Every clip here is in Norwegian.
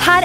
her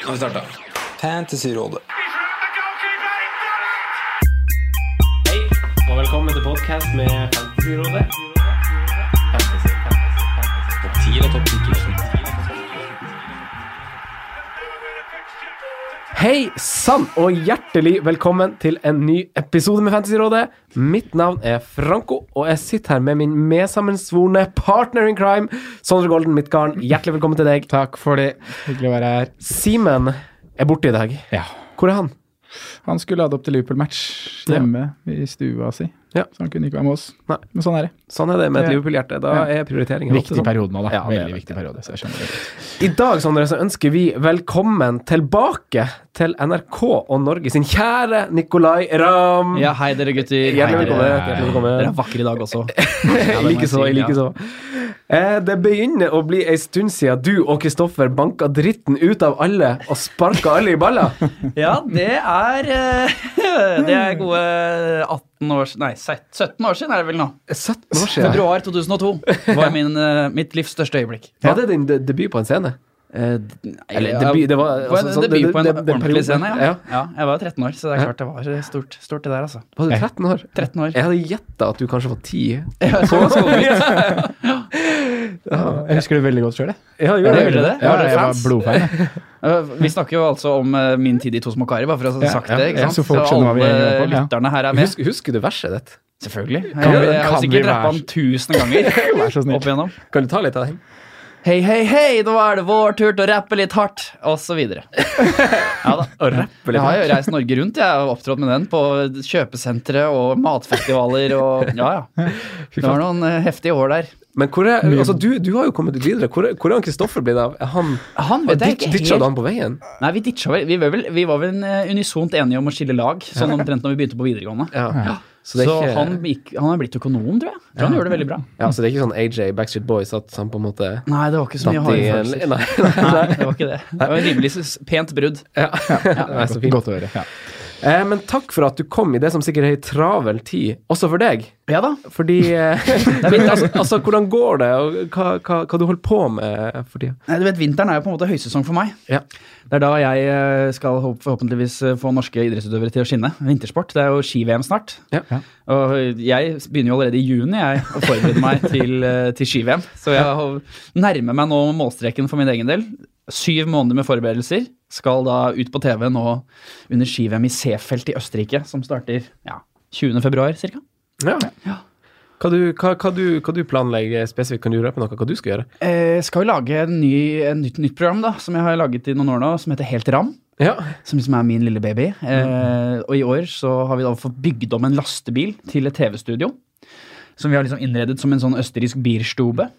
Nå har vi starta. Fantasyrådet. Hei, og velkommen til podcast med Fantasyrådet. Topp 10 eller topp 10? Hei sann, og hjertelig velkommen til en ny episode med Fantasyrådet. Mitt navn er Franco, og jeg sitter her med min medsammensvorne partner in crime, Sondre Golden Midtgarden. Hjertelig velkommen til deg. Takk for det. Hyggelig å være her. Simen er borte i dag. Ja. Hvor er han? Han skulle lade opp til Liverpool-match hjemme i stua si, Ja. så han kunne ikke være med oss. Nei. Men sånn er det. Sånn er det med et Ja. Liverpool-hjerte. Da Ja. er prioriteringen ofte sånn. periode nå, da. Ja, det er Veldig viktig periode. så jeg skjønner det godt. I dag Sondre, så ønsker vi velkommen tilbake til NRK og Norge sin kjære Nicolay Ramm. Ja, hei dere gutter. Hjertelig Hei, velkommen, dere. hjertelig velkommen. Dere er vakre i dag også. I like så. i like så. Eh, det begynner å bli ei stund siden du og Kristoffer banka dritten ut av alle og sparka alle i balla. Ja, det er eh, Det er gode 18 år s- Nei, se- 17 år siden er det vel nå. 17 Eh, år siden. Februar 2002 var min, eh, mitt livs største øyeblikk. Var det din de debut på en scene? Eh, d- nei, Eller, jeg- debut, det var- det var en altså, sånn, debut det- på en det- det- den perioden. ordentlig scene, ja. Ja. ja. Jeg var 13 år, så det er klart det var eh, stort, stort det der, altså. Var du 13 år? 13 år. Jeg hadde gjetta at du kanskje var 10. Jeg husker det veldig godt sjøl, jeg. Ja, Ja, det gjorde det. Ja, Var dere jeg var fans? blodfan. jeg. Eh, Vi snakker jo altså om eh, min tid i To små karer, bare for å ha Ja, sagt ja, det. ikke ja, sant? så folk skjønner hva vi alle gjør på, ja. lytterne her er med. Husker, husker du verset ditt? Selvfølgelig. Jeg, vi- jeg har kan vi sikkert være rappa den tusen ganger Vær så opp snill. igjennom. Kan du ta litt av den? Hei, hei, hei, nå er det vår tur til å rappe litt hardt, og så videre. Ja da. Rappe Jeg litt? har jo reist Norge rundt, jeg har opptrådt med den på kjøpesentre og matfestivaler og ja, ja. Det var noen eh, heftige år der. Men hvor er, altså, du, du har jo kommet litt videre. Hvor er, hvor er han Kristoffer blitt av? Er han Han vet jeg ikke ditcha du helt. han på veien? Nei, vi ditcha vel. Vi var vel, vi var vel eh, unisont enige om å skille lag, sånn omtrent når vi begynte på videregående. Ja. Så, Så, det er ikke, han, gikk, han er blitt økonom, tror jeg. Tror han gjør det veldig bra. ja, så det er ikke sånn AJ Backstreet Boys at han på en måte Nei, det var ikke så datt mye i harde en følelser. Nei, nei. Nei, det var ikke det. Det var en rimelig s- pent brudd. Nei, så fint. Godt å høre. Ja. Eh, men takk for at du kom i det som sikkert er ei travel tid, også for deg. Ja da. Fordi eh, altså, altså, hvordan går det, og hva, hva, hva du holder på med for tida? Nei, du vet, Vinteren er jo på en måte høysesong for meg. Ja. Det er da jeg eh, skal håp- forhåpentligvis eh, få norske idrettsutøvere til å skinne. Vintersport. Det er jo ski-VM snart. Ja. Ja. Og jeg begynner jo allerede i juni jeg, å forberede meg til, eh, til ski-VM. Så jeg har- nærmer meg nå målstreken for min egen del. Syv måneder med forberedelser. Skal da ut på TV nå under ski-VM i Seefeld i Østerrike, som starter ja, 20. februar ca. Ja. Hva, du, hva, hva, du, hva du planlegger spesifikt? Kan du røpe noe hva du skal gjøre? Jeg Eh, skal jo lage en ny, en nytt, nytt program da, som jeg har laget i noen år nå, som heter Helt ram. Ja. som liksom er min lille baby. Eh, og i år så har vi da fått bygd om en lastebil til et TV-studio. Som vi har liksom innredet som en sånn østerriksk bierstube.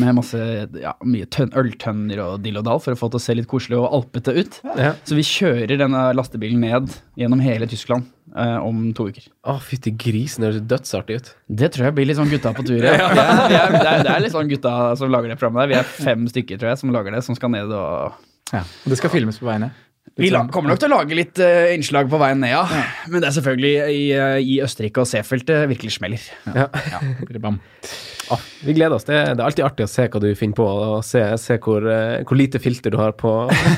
med masse ja, mye tønn, øltønner og dill og dall for å få det til å se litt koselig og alpete ut. Ja. Så vi kjører denne lastebilen ned gjennom hele Tyskland eh, om to uker. Å, fytti grisen, det høres dødsartig ut. Det tror jeg blir litt sånn gutta på tur. Ja. Det, er, det, er, det, er, det er litt sånn gutta som lager det programmet der. Vi er fem stykker tror jeg, som lager det, som skal ned og Ja. Og det skal filmes på Liksom. veiene. Vi la, kommer nok til å lage litt eh, innslag på veien ned, Liksom. ja. Men det er selvfølgelig i, eh, i Østerrike og Seefeld det virkelig smeller. Bam. Vi gleder oss. Det, det er alltid artig å se hva du finner på, og se, se hvor, eh, hvor lite filter du har på,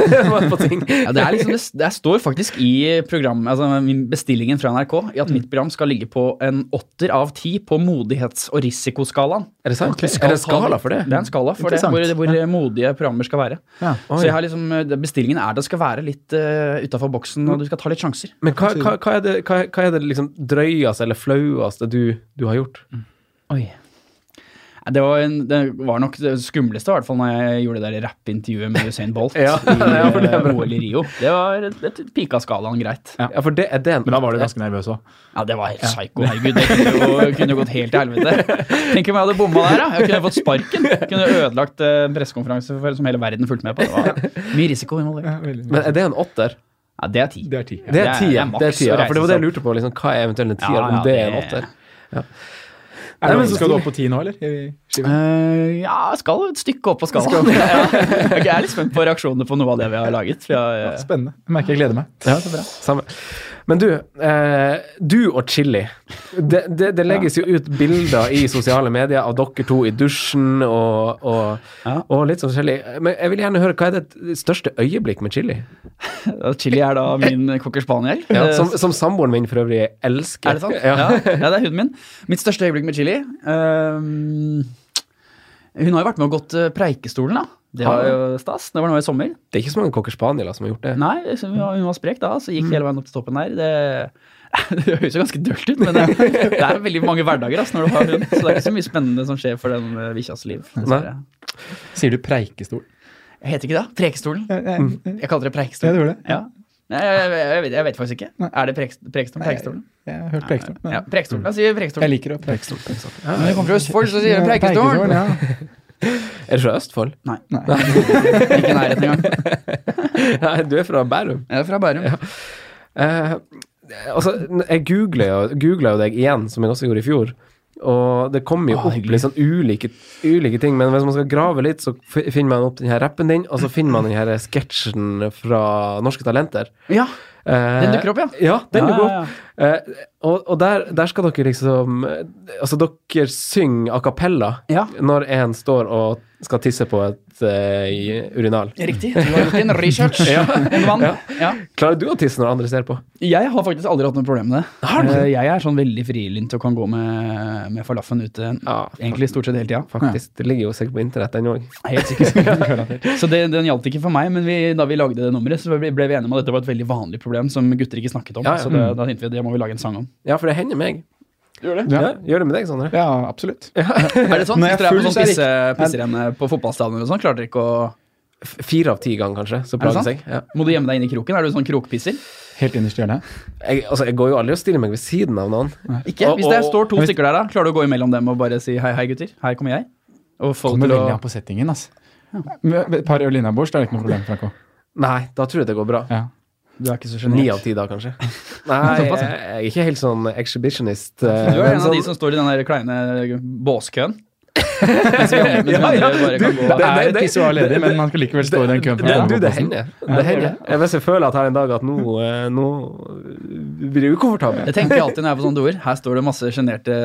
på ting. Ja, det, er liksom, det, det står faktisk i program, altså min bestillingen fra NRK i at mitt program skal ligge på en åtter av ti på modighets- og risikoskalaen. Er det sant? Du skal Er det en ta skala for det? Det er en skala for det, Interessant. hvor, hvor modige programmer skal være. Ja. Så jeg har liksom, eh, bestillingen er det skal være litt litt uh, utafor boksen, og du skal ta litt sjanser. Men hva, hva, hva er det, hva, hva er det liksom drøyeste eller flaueste du, du har gjort? Oi. Nei, Det var, en, det var nok det skumleste, i hvert fall når jeg gjorde det der rappintervjuet med Usain Bolt Ja, i ja, for det er eh, bra. OL i Rio. Det var et pika skalaen greit. Ja. Ja, for det er det en, Men da var du ganske nervøs òg. Ja, det var helt psyko. Herregud, det kunne jo, kunne jo gått helt til helvete. Tenk om jeg hadde bomma der, da. Jeg kunne fått sparken. Jeg kunne ødelagt eh, en pressekonferanse for- som hele verden fulgte med på. Det var mye risiko involvert. Men er det en åtter? Ja, det er ti. Det er ti. Det Det er er- tier. det Det er er maks tier. å Ja, for det var det jeg reise lurte på. Liksom, hva er eventuelt en tier, Ja, ja, om det er en det- åtter? Er det, men men, så skal du opp på ti nå, eller? I skiva? Eh, ja, jeg skal et stykke opp på skalaen. Ja. Ok, jeg er litt spent på reaksjonene på noe av det vi har laget. For jeg, eh, Spennende. Jeg merker jeg gleder meg. Ja, så bra. Samme. Men du, eh, du og chili. Det, det, det legges jo ut bilder i sosiale medier av dere to i dusjen og, og, Ja. og litt sånn forskjellig. Men jeg vil gjerne høre, hva er det største øyeblikk med chili? Ja, Chili er da min cocker spaniel. Ja, Eh, som, som samboeren min for øvrig elsker. er det sant? Ja. Ja. Ja. det er huden min. Mitt største øyeblikk med Chili ehm, Hun har jo vært med og gått eh, Preikestolen, da. Det var jo stas. Det var nå i sommer. Det er ikke så mange cocker spaniela som har gjort det. Nei, så hun var, hun var sprek da, så Mm. gikk hele veien opp til toppen der. Det, det høres jo ganske dølt ut, men det, det er veldig mange hverdager ass, når du har hund. Så det er ikke så mye spennende som skjer for den eh, bikkjas liv. dessverre. Sier du preikestol? Jeg heter ikke det? Preikestolen? Ja, ja, ja, Jeg kaller det ja, Preikestolen. du gjør det? Ja. Nei, jeg, jeg, jeg, vet, jeg vet faktisk ikke. Er det Preik- Preikestolen? Preikestolen? Jeg har hørt preikestol. men Ja, Preikestolen. Da sier vi Jeg Preikestolen. liker å preikestol. Når vi kommer fra Østfold, så sier vi Preikestolen, Preikestolen. ja. Er du fra Østfold? Nei. Ikke i nærheten engang. Nei, du er fra Bærum. Jeg er fra Bærum. Eh, altså, jeg googlet jo, googlet jo deg igjen, som jeg også gjorde i fjor. Og det kommer jo opp litt sånn ulike, ulike ting, men hvis man skal grave litt, så f- finner man opp den her rappen din, og så finner man den her sketsjen fra Norske Talenter. Ja. Eh, Den dukker opp, ja. Ja, den Ja, dukker ja, opp. Eh, og og der, der skal dere liksom eh, Altså, dere synger a cappella Ja. når en står og skal tisse på et eh, i- urinal. Riktig. Du har gjort din research. En mann. Ja. Klarer du å tisse når andre ser på? Jeg har faktisk aldri hatt noe problem med det. Har du? Eh, Jeg er sånn veldig frilynt og kan gå med, med falaffen ute Ja, egentlig stort sett hele tida. Faktisk. Det ligger jo sikkert på internett, den òg. Ja, helt sikkert. så det, den gjaldt ikke for meg, men vi, da vi lagde det nummeret, så ble ble vi enige om at dette var et veldig vanlig problem som gutter ikke snakket om. Ja, ja. Så det, da tenkte vi at det må vi lage en sang om. Ja, for det hender meg. Mm. Gjør det? Ja. Ja. gjør det med deg, Sondre? Ja, absolutt. Er det sånn? Når jeg er Hvis dere er på full, sånn så er det pisse, pissrenn på fotballstadion eller sånn, klarer dere ikke å F- Fire av ti ganger, kanskje. Så Er det plager sant? det seg. Ja. Må du gjemme deg inn i kroken? Er du sånn krokpisser? Helt innerst i hjørnet. Jeg, altså, jeg går jo aldri og stiller meg ved siden av noen. Ikke? Og- Hvis det og- står to stykker der, da, klarer du å gå imellom dem og bare si hei, hei, gutter, her kommer jeg? Og folk Kommer til å veldig an på settingen, altså. Med- med Et par øl innabords, da er det ikke noe problem, Franco. Nei, da tror jeg det går bra. Ja. Du er ikke så Ni sjenert. av ti da, kanskje. Nei, jeg, jeg er ikke helt sånn exhibitionist. eh, sånn- Du Du er en av de som står i den der kleine eh, båskøen. Mens vi andre, mens vi andre bare kan gå. Det er et det- pissoar ledig, men man skal likevel stå i den køen. for det, du, å komme det på plassen. hender. Det hender. Jeg, hvis jeg føler at her en dag at nå, eh, nå blir jeg ukomfortabel. Jeg tenker alltid når jeg er på sånne doer. Her står det masse sjenerte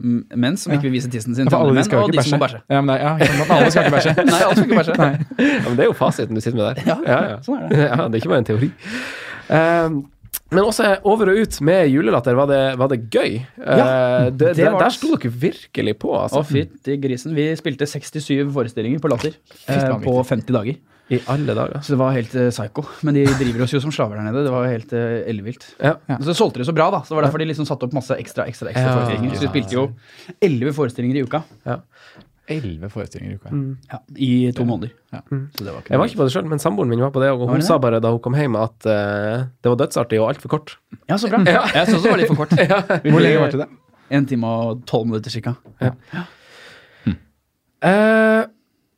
m- menn som ikke vil vise tissen sin Ja, til For alle andre de menn, skal jo og de ikke som må bæsje. bæsje. Ja, men det er- ja, ikke sant, alle skal ikke bæsje. Nei, alle skal ikke bæsje. Ja, men det er jo fasiten du sitter med der. Ja, sånn er det. Ja, det er ikke bare en teori. Eh, men også over og ut med julelatter, var det, var det gøy? Ja, Eh, det, det der- var der det. sto dere virkelig på, altså. Å, fytti grisen. Vi spilte 67 forestillinger på Latter eh, vanvittig. på 50 dager. I alle dager. Så det var helt eh, psycho. Men de driver oss jo som slaver der nede. Det var jo helt eh, ellevilt. Ja. Og Så solgte de så bra, da. Så det var derfor de liksom satte opp masse ekstra ekstra, ekstra Ja. forestillinger. Så vi spilte jo 11 forestillinger i uka Elleve forestillinger i uka. ja, i to måneder. Ja. Så det var ikke Jeg var ikke på det sjøl, men samboeren min var på det, og hun det? sa bare da hun kom hjem at eh, det var dødsartig og altfor kort. Ja, så bra. Jeg syns det var litt for kort. Hvor lenge varte det? En time og tolv minutter cirka. Eh,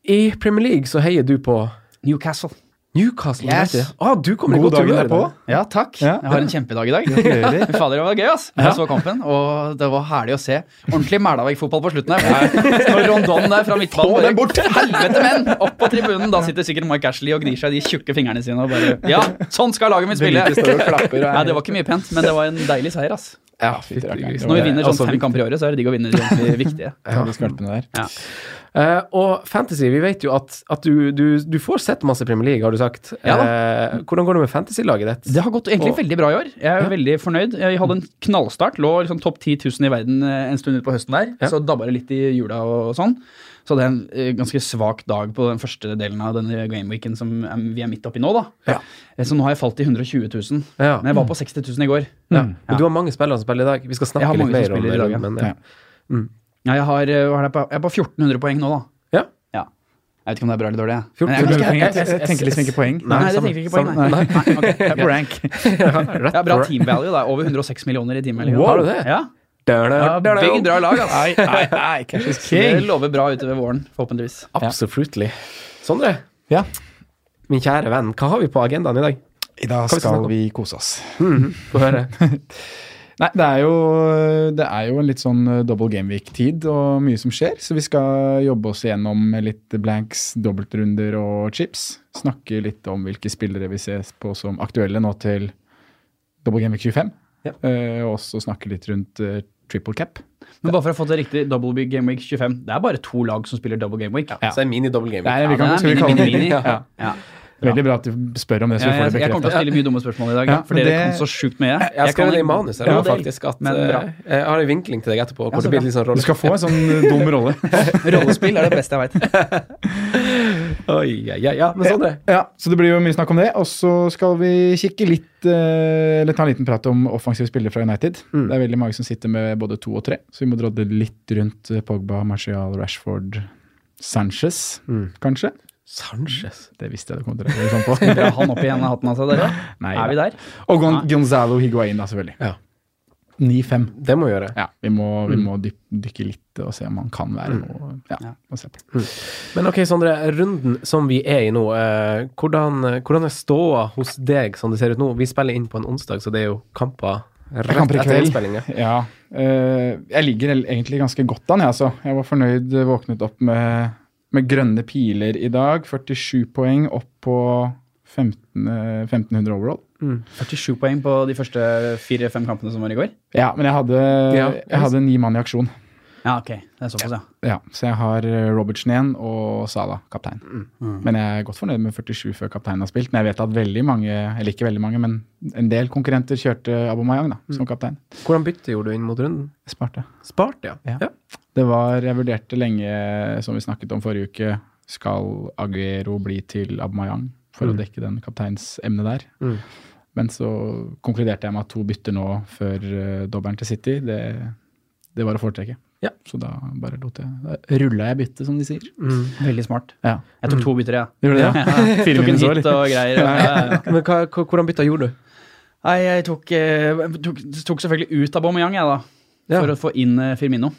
I Premier League så heier du på Newcastle. Newcastle. Yes. United. Ah, du kommer i God godt dagen humør i er på. dag. Ja, takk. Ja. Jeg har en kjempedag i dag. Fy Fader, det var gøy, ass. Jeg så kampen, og det var herlig å se. Ordentlig Mælavik-fotball på slutten her. Når Rondon der fra midtbanen bare Helvete, menn! Opp på tribunen. Da sitter sikkert Mike Ashley og gnir seg i de tjukke fingrene sine og bare Ja, sånn skal laget mitt spille! Nei, det var ikke mye pent, men det var en deilig seier, ass. Ja, fytti grisen. Når vi vinner Altså, sånn fem kamper i året, så er det digg å vinne de ordentlig viktige. Ja, de skvalpene der. Eh, og fantasy, vi vet jo at, at du, du, du får sett masse Premier League, har du sagt. Ja Eh, hvordan går det med fantasy-laget ditt? Det har gått egentlig veldig bra i år. Jeg er veldig fornøyd. Jeg hadde en knallstart. Lå liksom topp 10 000 i verden eh, en stund utpå høsten der. Ja. Så dabba det litt i jula og sånn. Så det er en eh, ganske svak dag på den første delen av denne gameweeken som eh, vi er midt oppi nå, da. Eh, Så nå har jeg falt i 120 000. Men jeg var på 60 000 i går. Mm. Ja. Men du har mange spillere som spiller i dag. Vi skal Jeg snakke har litt mange som mer om det. spiller i dag, ja. men, ja. Mm. Ja, jeg, har, eh, hva er det på, jeg er på 1400 poeng nå, da. Ja. Jeg vet ikke om det er bra eller dårlig. jeg. Men 1400 jeg- poeng, jeg- jeg- jeg- jeg tenker liksom ikke poeng. Nei, Nei, det samme- tenker jeg ikke poeng. Nei. samme- Nei, ok. Jeg er på Ja. rank. rett Det er bra på rank. team value. da. Over 106 millioner i team value. Wow. Har du det? Ja. Da-da, Ja, da-da. Begge drar lag, ass. Nei, nei, nei, cash is king. Det lover bra utover våren, forhåpentligvis. Absolutely. Sondre, min kjære venn, hva har vi på agendaen i dag? I dag Hva vi snakke skal om? vi kose oss. Mhm, Få høre. Nei, det er, jo, det er jo en litt sånn eh, double game week-tid og mye som skjer, så vi skal jobbe oss igjennom litt blanks, dobbeltrunder og chips. Snakke litt om hvilke spillere vi ser på som aktuelle nå til double game week 25. Eh, og også snakke litt rundt eh, triple cap. Men bare for å få det riktig, double big game week 25. Det er bare to lag som spiller double game week. Så er det mini-double game. Nei, vi kan, Ja, skal vi mini, kalle det mini, mini. Ja. Ja. Veldig bra at du spør om det, så vi Ja, får jeg, det jeg kommer til å bekreftet. stille mye dumme spørsmål i dag, Ja, for dere det- kan så sjukt mye. Jeg har skrevet det i manus her, Ja, nå, faktisk, at men bra. eh, jeg har en vinkling til deg etterpå. Hvor så det blir bra. litt sånn Du rolle. skal få en sånn eh, dum rolle. Rollespill er det beste jeg veit. Oi, ja, ja, ja. Men Sondre, Ja, så det blir jo mye snakk om det. Og så skal vi kikke litt, eh, eller ta en liten prat om offensive spillere fra United. Det er veldig mange som sitter med både to og tre, så vi må drodle litt rundt eh, Pogba, Martial, Rashford, Sanchez, kanskje. Sanchez. Det visste jeg du kom til å reagere sånn på. Drar han opp igjen av hatten altså, dere? Nei, er vi der? Og Gon Gonzalo Higuain, da, selvfølgelig. Ja. 9-5. Det må vi gjøre. Ja, vi må, vi må dyp, dykke litt og se om han kan være noe. Mm. Ja, må se på. Men ok, Sondre, runden som vi er i nå, eh, hvordan, hvordan er ståa hos deg som det ser ut nå? Vi spiller inn på en onsdag, så det er jo kamper Jeg kan rett prøve etter kveld. innspillinga. Ja. eh, jeg ligger el- egentlig ganske godt an, jeg, altså. Jeg var fornøyd, eh, våknet opp med, med grønne piler i dag. 47 poeng opp på 15, eh, 1500 overall. 47 poeng på de første fire-fem kampene som var i går? Ja, men jeg hadde, Ja. jeg hadde ni mann i aksjon. Ja, ok. Det er såpass, ja. Ja, så jeg har eh, Robertsen igjen og Sala, kaptein. Mm. Men jeg er godt fornøyd med 47 før kapteinen har spilt. Men jeg vet at veldig mange, eller ikke veldig mange, men en del konkurrenter kjørte Abomayang Mm. da, som kaptein. Hvordan bytte gjorde du inn mot runden? Smart, ja. Spart, ja. Ja. Det var, jeg vurderte lenge, som vi snakket om forrige uke, skal Aguero bli til Aubameyang for å dekke den kapteinsemnet der. Mm. Men så konkluderte jeg med at to bytter nå før uh, dobbelen til City, det, det var å foretrekke. Ja. Så da bare lot jeg Da rulla jeg byttet, som de sier. Mm. Veldig smart. Ja. Jeg tok to bytter, jeg. Gjorde du det? Ja, ja. Fire Tok en minus år. hit og greier. Ja, ja, ja. Men hva, hva, hvordan bytta gjorde du? Nei, jeg tok, eh, tok, tok selvfølgelig ut av Aubameyang, jeg, da. Ja. For å få inn eh, Firmino.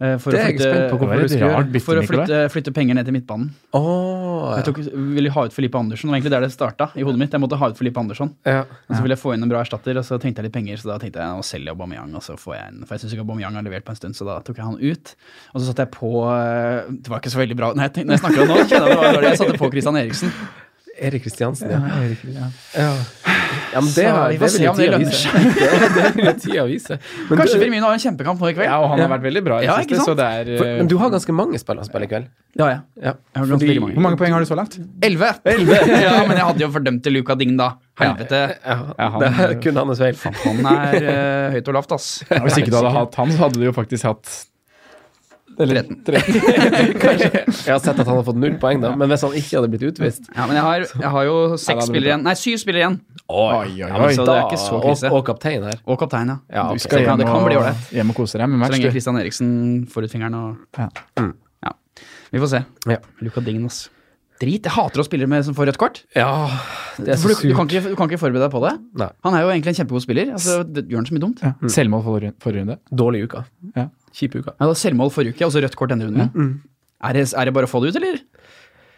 Eh, for Det å er jeg flytte, spent på hvorfor Det var et du skal rart gjøre. bytte, for å Nicolai. flytte, flytte penger ned til midtbanen. Åh, Jeg tok, ville ha ut Filippe Andersson. Det var egentlig der det starta i hodet mitt. Jeg måtte ha ut Filippe Andersson. ja. Og så ville jeg få inn en bra erstatter, og så trengte jeg litt penger, så da tenkte jeg nå selger jeg Aubameyang, og så får jeg en For jeg syns ikke Aubameyang har levert på en stund, så da tok jeg han ut. Og så satte jeg på eh, Det var ikke så veldig bra Nei, jeg tenkte, når jeg snakker om det nå, kjenner jeg det var dårlig. Jeg satte på Christian Eriksen. Erik Kristiansen, ja. Ja. ja. Ja, men det, Så har- vi det får se vil jo om det tida lønner vise. Det, det vil jo tida vise. Men Kanskje du, Firmino har en kjempekamp nå i kveld. Ja, og han har vært veldig bra i det Ja, ikke siste, så sant? det er for, eh, men du har ganske mange spillere å spille i kveld. Ja, ja. Ja. Jeg har ganske mange. eh, Hvor mange poeng har du så langt? 11! ja, men jeg hadde jo fordømt til Luka Ding, da. Helvete. Ja, han- det er kun hans feil. Han er eh, høyt og lavt, ass. Ja, hvis ikke du hadde hatt han, så hadde du jo faktisk hatt eller, 13. Jeg har sett at han har fått null poeng, da, men hvis han ikke hadde blitt utvist Ja, men jeg har, jeg har jo seks det blir spillere igjen. Nei, syv spillere igjen. Oi, oi, Ja, men oi. da- så det er ikke så krise. Og, og kaptein her. Og kaptein, ja. Ja, Du ok. skal det kan- hjem det kan bli og, ålreit. hjem og kose deg med Så match, lenge du. Christian Eriksen får ut fingeren og Ja. Mm. Ja. Vi får se. Ja. Luka Ding, ass. Drit. Jeg hater å spille med som får rødt kort. Ja, det er så For du, du, kan surt. ikke, du kan ikke forberede deg på det. Nei. Mm. Han er jo egentlig en kjempegod spiller. Altså, det gjør han så mye dumt. Ja. Selvmål forrige, forrige runde. Dårlig uke. Ja. Kjip uke. Jeg hadde selvmål forrige uke, og så rødt kort denne runden. Mm. Er, det, er det bare å få det ut, eller?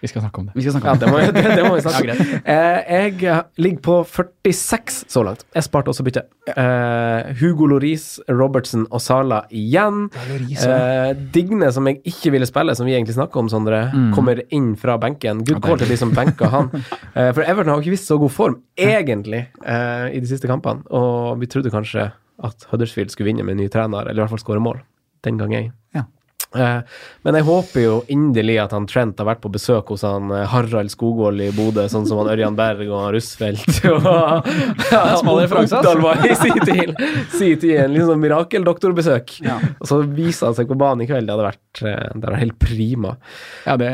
Vi skal snakke om det. Vi skal snakke Ja, om det. det må, det, det må vi snakke Ja, om. Eh, jeg ligger på 46 så langt. Jeg sparte også bytte. Eh, Hugo Loris, Robertsen og Sala igjen. Eh, Digne, som jeg ikke ville spille, som vi egentlig snakka om, Sondre, kommer inn fra benken. Good call til de som benka han. Eh, for Everton har jo ikke vist så god form, egentlig, eh, i de siste kampene. Og vi trodde kanskje at Huddersfield skulle vinne med en ny trener, eller i hvert fall skåre mål. Den gang jeg. Ja. Eh, Men jeg håper jo inderlig at han Trent har vært på besøk hos han eh, Harald Skogvold i Bodø, sånn som han Ørjan Berg og han Russfeldt og smal referanse, ass. Oppdal var i sin tid. Sin tid en liksom sånn mirakeldoktorbesøk. Og så viser han seg på banen i kveld. Det hadde vært, eh, det hadde vært helt prima. Ja, det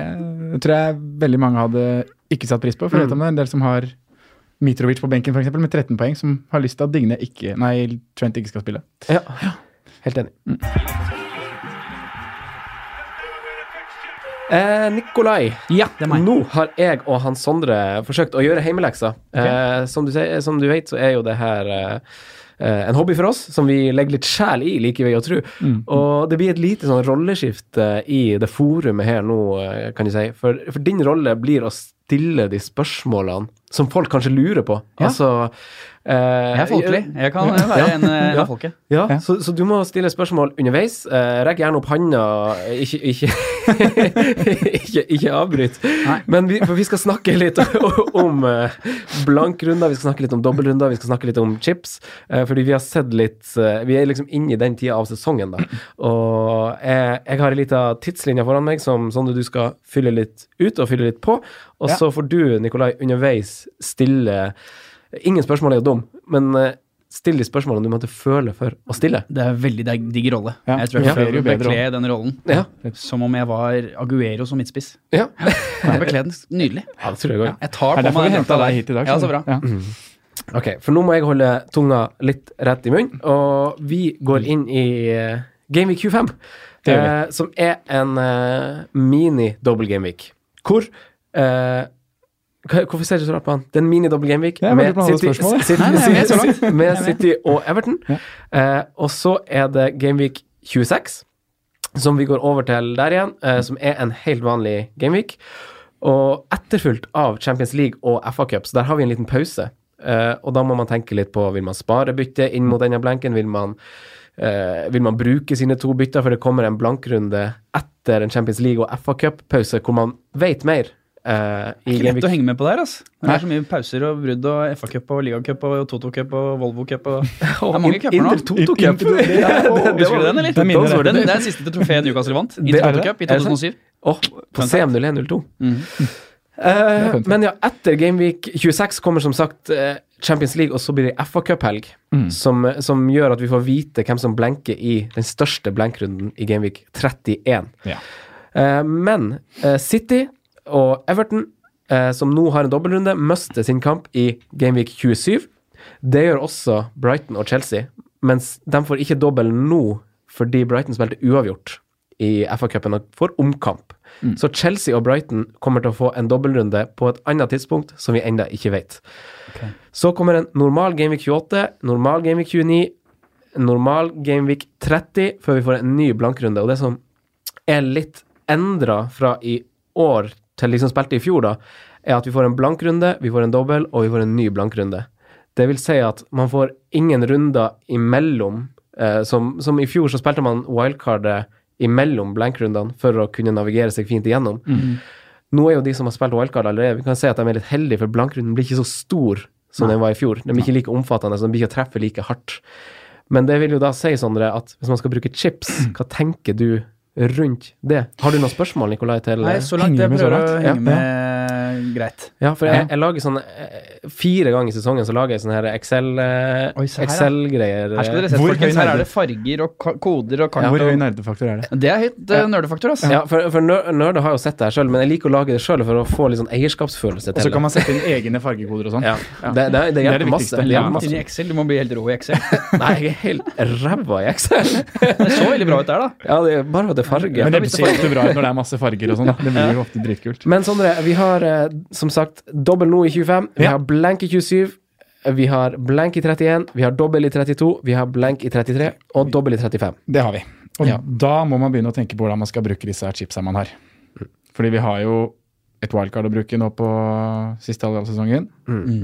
tror jeg veldig mange hadde ikke satt pris på. For jeg vet om det er en del som har Mitrovic på benken for eksempel, med 13 poeng, som har lyst til at Digne ikke, nei, Trent ikke skal spille. Ja, helt enig. Eh, Nikolai, Ja, det er meg. nå har jeg og han Sondre forsøkt å gjøre heimeleksa. Eh, som, du sier, som du vet, så er jo det her eh, eh, en hobby for oss, som vi legger litt sjel i, liker vi å tro. Mm. Og det blir et lite sånn rolleskifte i det forumet her nå, eh, kan du si. For, for din rolle blir å stille de spørsmålene som folk kanskje lurer på. Altså eh, Jeg er folkelig. Jeg kan eh, være en, eh, en av folket. ja, Så, så du må stille spørsmål underveis. Eh, rekk gjerne opp handa. eh, Ikke, ikke, ikke, ikke avbryt. Men vi, for vi skal snakke litt om eh, blankrunder, vi skal snakke litt om dobbeltrunder, vi skal snakke litt om chips. Eh, fordi vi har sett litt eh, Vi er liksom inne i den tida av sesongen, da. Og jeg, jeg har ei lita tidslinje foran meg som sånn at du skal fylle litt ut og fylle litt på. Og Ja. så får du, Nikolai, underveis stille Ingen spørsmål er jo dum, men eh, still de spørsmålene du måtte føle for å stille. Det er en veldig deg- digg rolle. Ja. Jeg Ja. tror jeg Det er jo føler bedre bekle den rollen Ja. som om jeg var Aguero som midtspiss. Ja, Jeg bekler den nydelig. ja det tror jeg går. Jeg tar Det er på derfor meg vi den henta drakta deg hit i der. dag. Ja, skjønner så du. bra. Ok, for nå må jeg holde tunga litt rett i munnen, og vi går inn i eh, Game Week 25, Det gjør eh, som er en eh, mini-dobbel Game Week. Hvor eh, hva- Hvorfor ser du så rart på han? Det er en mini-dobbel Game Week Jeg med lurer på om han hadde City, spørsmål, jeg. City- Nei, nei, jeg er med så langt. City- med City og Everton. Eh, og så er det Game Week 26, som vi går over til der igjen, eh, som er en helt vanlig Game Week. Og etterfulgt av Champions League og FA Cup, så der har vi en liten pause. Eh, og da må man tenke litt på vil man spare byttet inn mot denne blanken. Vil man, eh, vil man bruke sine to bytter, for det kommer en blankrunde etter en Champions League og FA Cup-pause hvor man vet mer. eh, i Ikke Game lett å Week. henge med på der, altså. Det er så mye pauser og brudd og FA-cup og ligacup og Toto-cup og Volvo-cup og Det er mange cuper nå. Inter Toto Cup. Inter- det- det- Ja, det- det Husker var- du den, eller? Den minner jeg. Den- det er siste trofé Newcastle vant. I Det er det. Toto-cup i Er det sant? 2007. Åh, på Fun fact. CM0102. Mhm. Eh, fun fact. men ja, etter Gameweek 26 kommer som sagt eh, Champions League, og så blir det FA Cup-helg. Som, eh, som gjør at vi får vite hvem som blenker i den største blenkrunden i Gameweek 31. Ja. Eh, men eh, City og Everton, eh, som nå har en dobbeltrunde, mister sin kamp i Gameweek 27. Det gjør også Brighton og Chelsea, mens de får ikke dobbel nå fordi Brighton spilte uavgjort i FA-cupen og får omkamp. Så Chelsea og Brighton kommer til å få en dobbeltrunde på et annet tidspunkt som vi ennå ikke vet. Så kommer en normal Gameweek 28, normal Gameweek 29, normal Gameweek 30, før vi får en ny blankrunde. Og det som er litt endra fra i år til de som spilte i fjor, da, er at vi får en blankrunde, vi får en dobbel, og vi får en ny blankrunde. Det vil si at man får ingen runder imellom. Eh, som, som i fjor så spilte man wildcardet imellom blankrundene for å kunne navigere seg fint igjennom. Mm. Nå er jo de som har spilt wildcard allerede, vi kan si at de er litt heldige, for blankrunden blir ikke så stor som den var i fjor. Den blir ikke like omfattende, så den blir ikke å treffe like hardt. Men det vil jo da si, Sondre, at hvis man skal bruke chips, hva tenker du rundt det? Har du noen spørsmål, Nikolai, til eh? Nei, så Henger langt. Jeg med så prøver å langt. Ja. henge med greit. Ja, for jeg, jeg lager sånn eh, Fire ganger i sesongen så lager jeg sånne her Excel, eh, Oi, se her, ja. Excel-greier. eh. Her skal dere se, Hvor høy folkens. Her nerde- er det farger og ka- koder og kart. Hvor høy og- nerdefaktor er det? Det er høyt eh, nerdefaktor, altså. Ja, for, for ner- nerder har jo sett det her sjøl, men jeg liker å lage det sjøl for å få litt sånn eierskapsfølelse Og til så kan det. man sette inn egne fargekoder og sånn. Ja, det, det, det er det hjelper masse. viktigste. Det hjelper Inn i masse. Excel. Du må bli helt rå i Excel. Nei, jeg er helt ræva i Excel. Det så veldig bra ut der, da. Ja, det er bare at det er farge. Men det ser jo bra ut når det er masse farger og sånn. da. Det blir jo ofte dritkult. Men Sondre, vi har eh, som sagt dobbel nå i 25. Vi Ja. har blank i 27. Vi har blank i 31. Vi har dobbel i 32. Vi har blank i 33. Og dobbel i 35. Det har vi. Og Ja. da må man begynne å tenke på hvordan man skal bruke disse her chipsa man har. Fordi vi har jo et wildcard å bruke nå på siste halvdel av sesongen.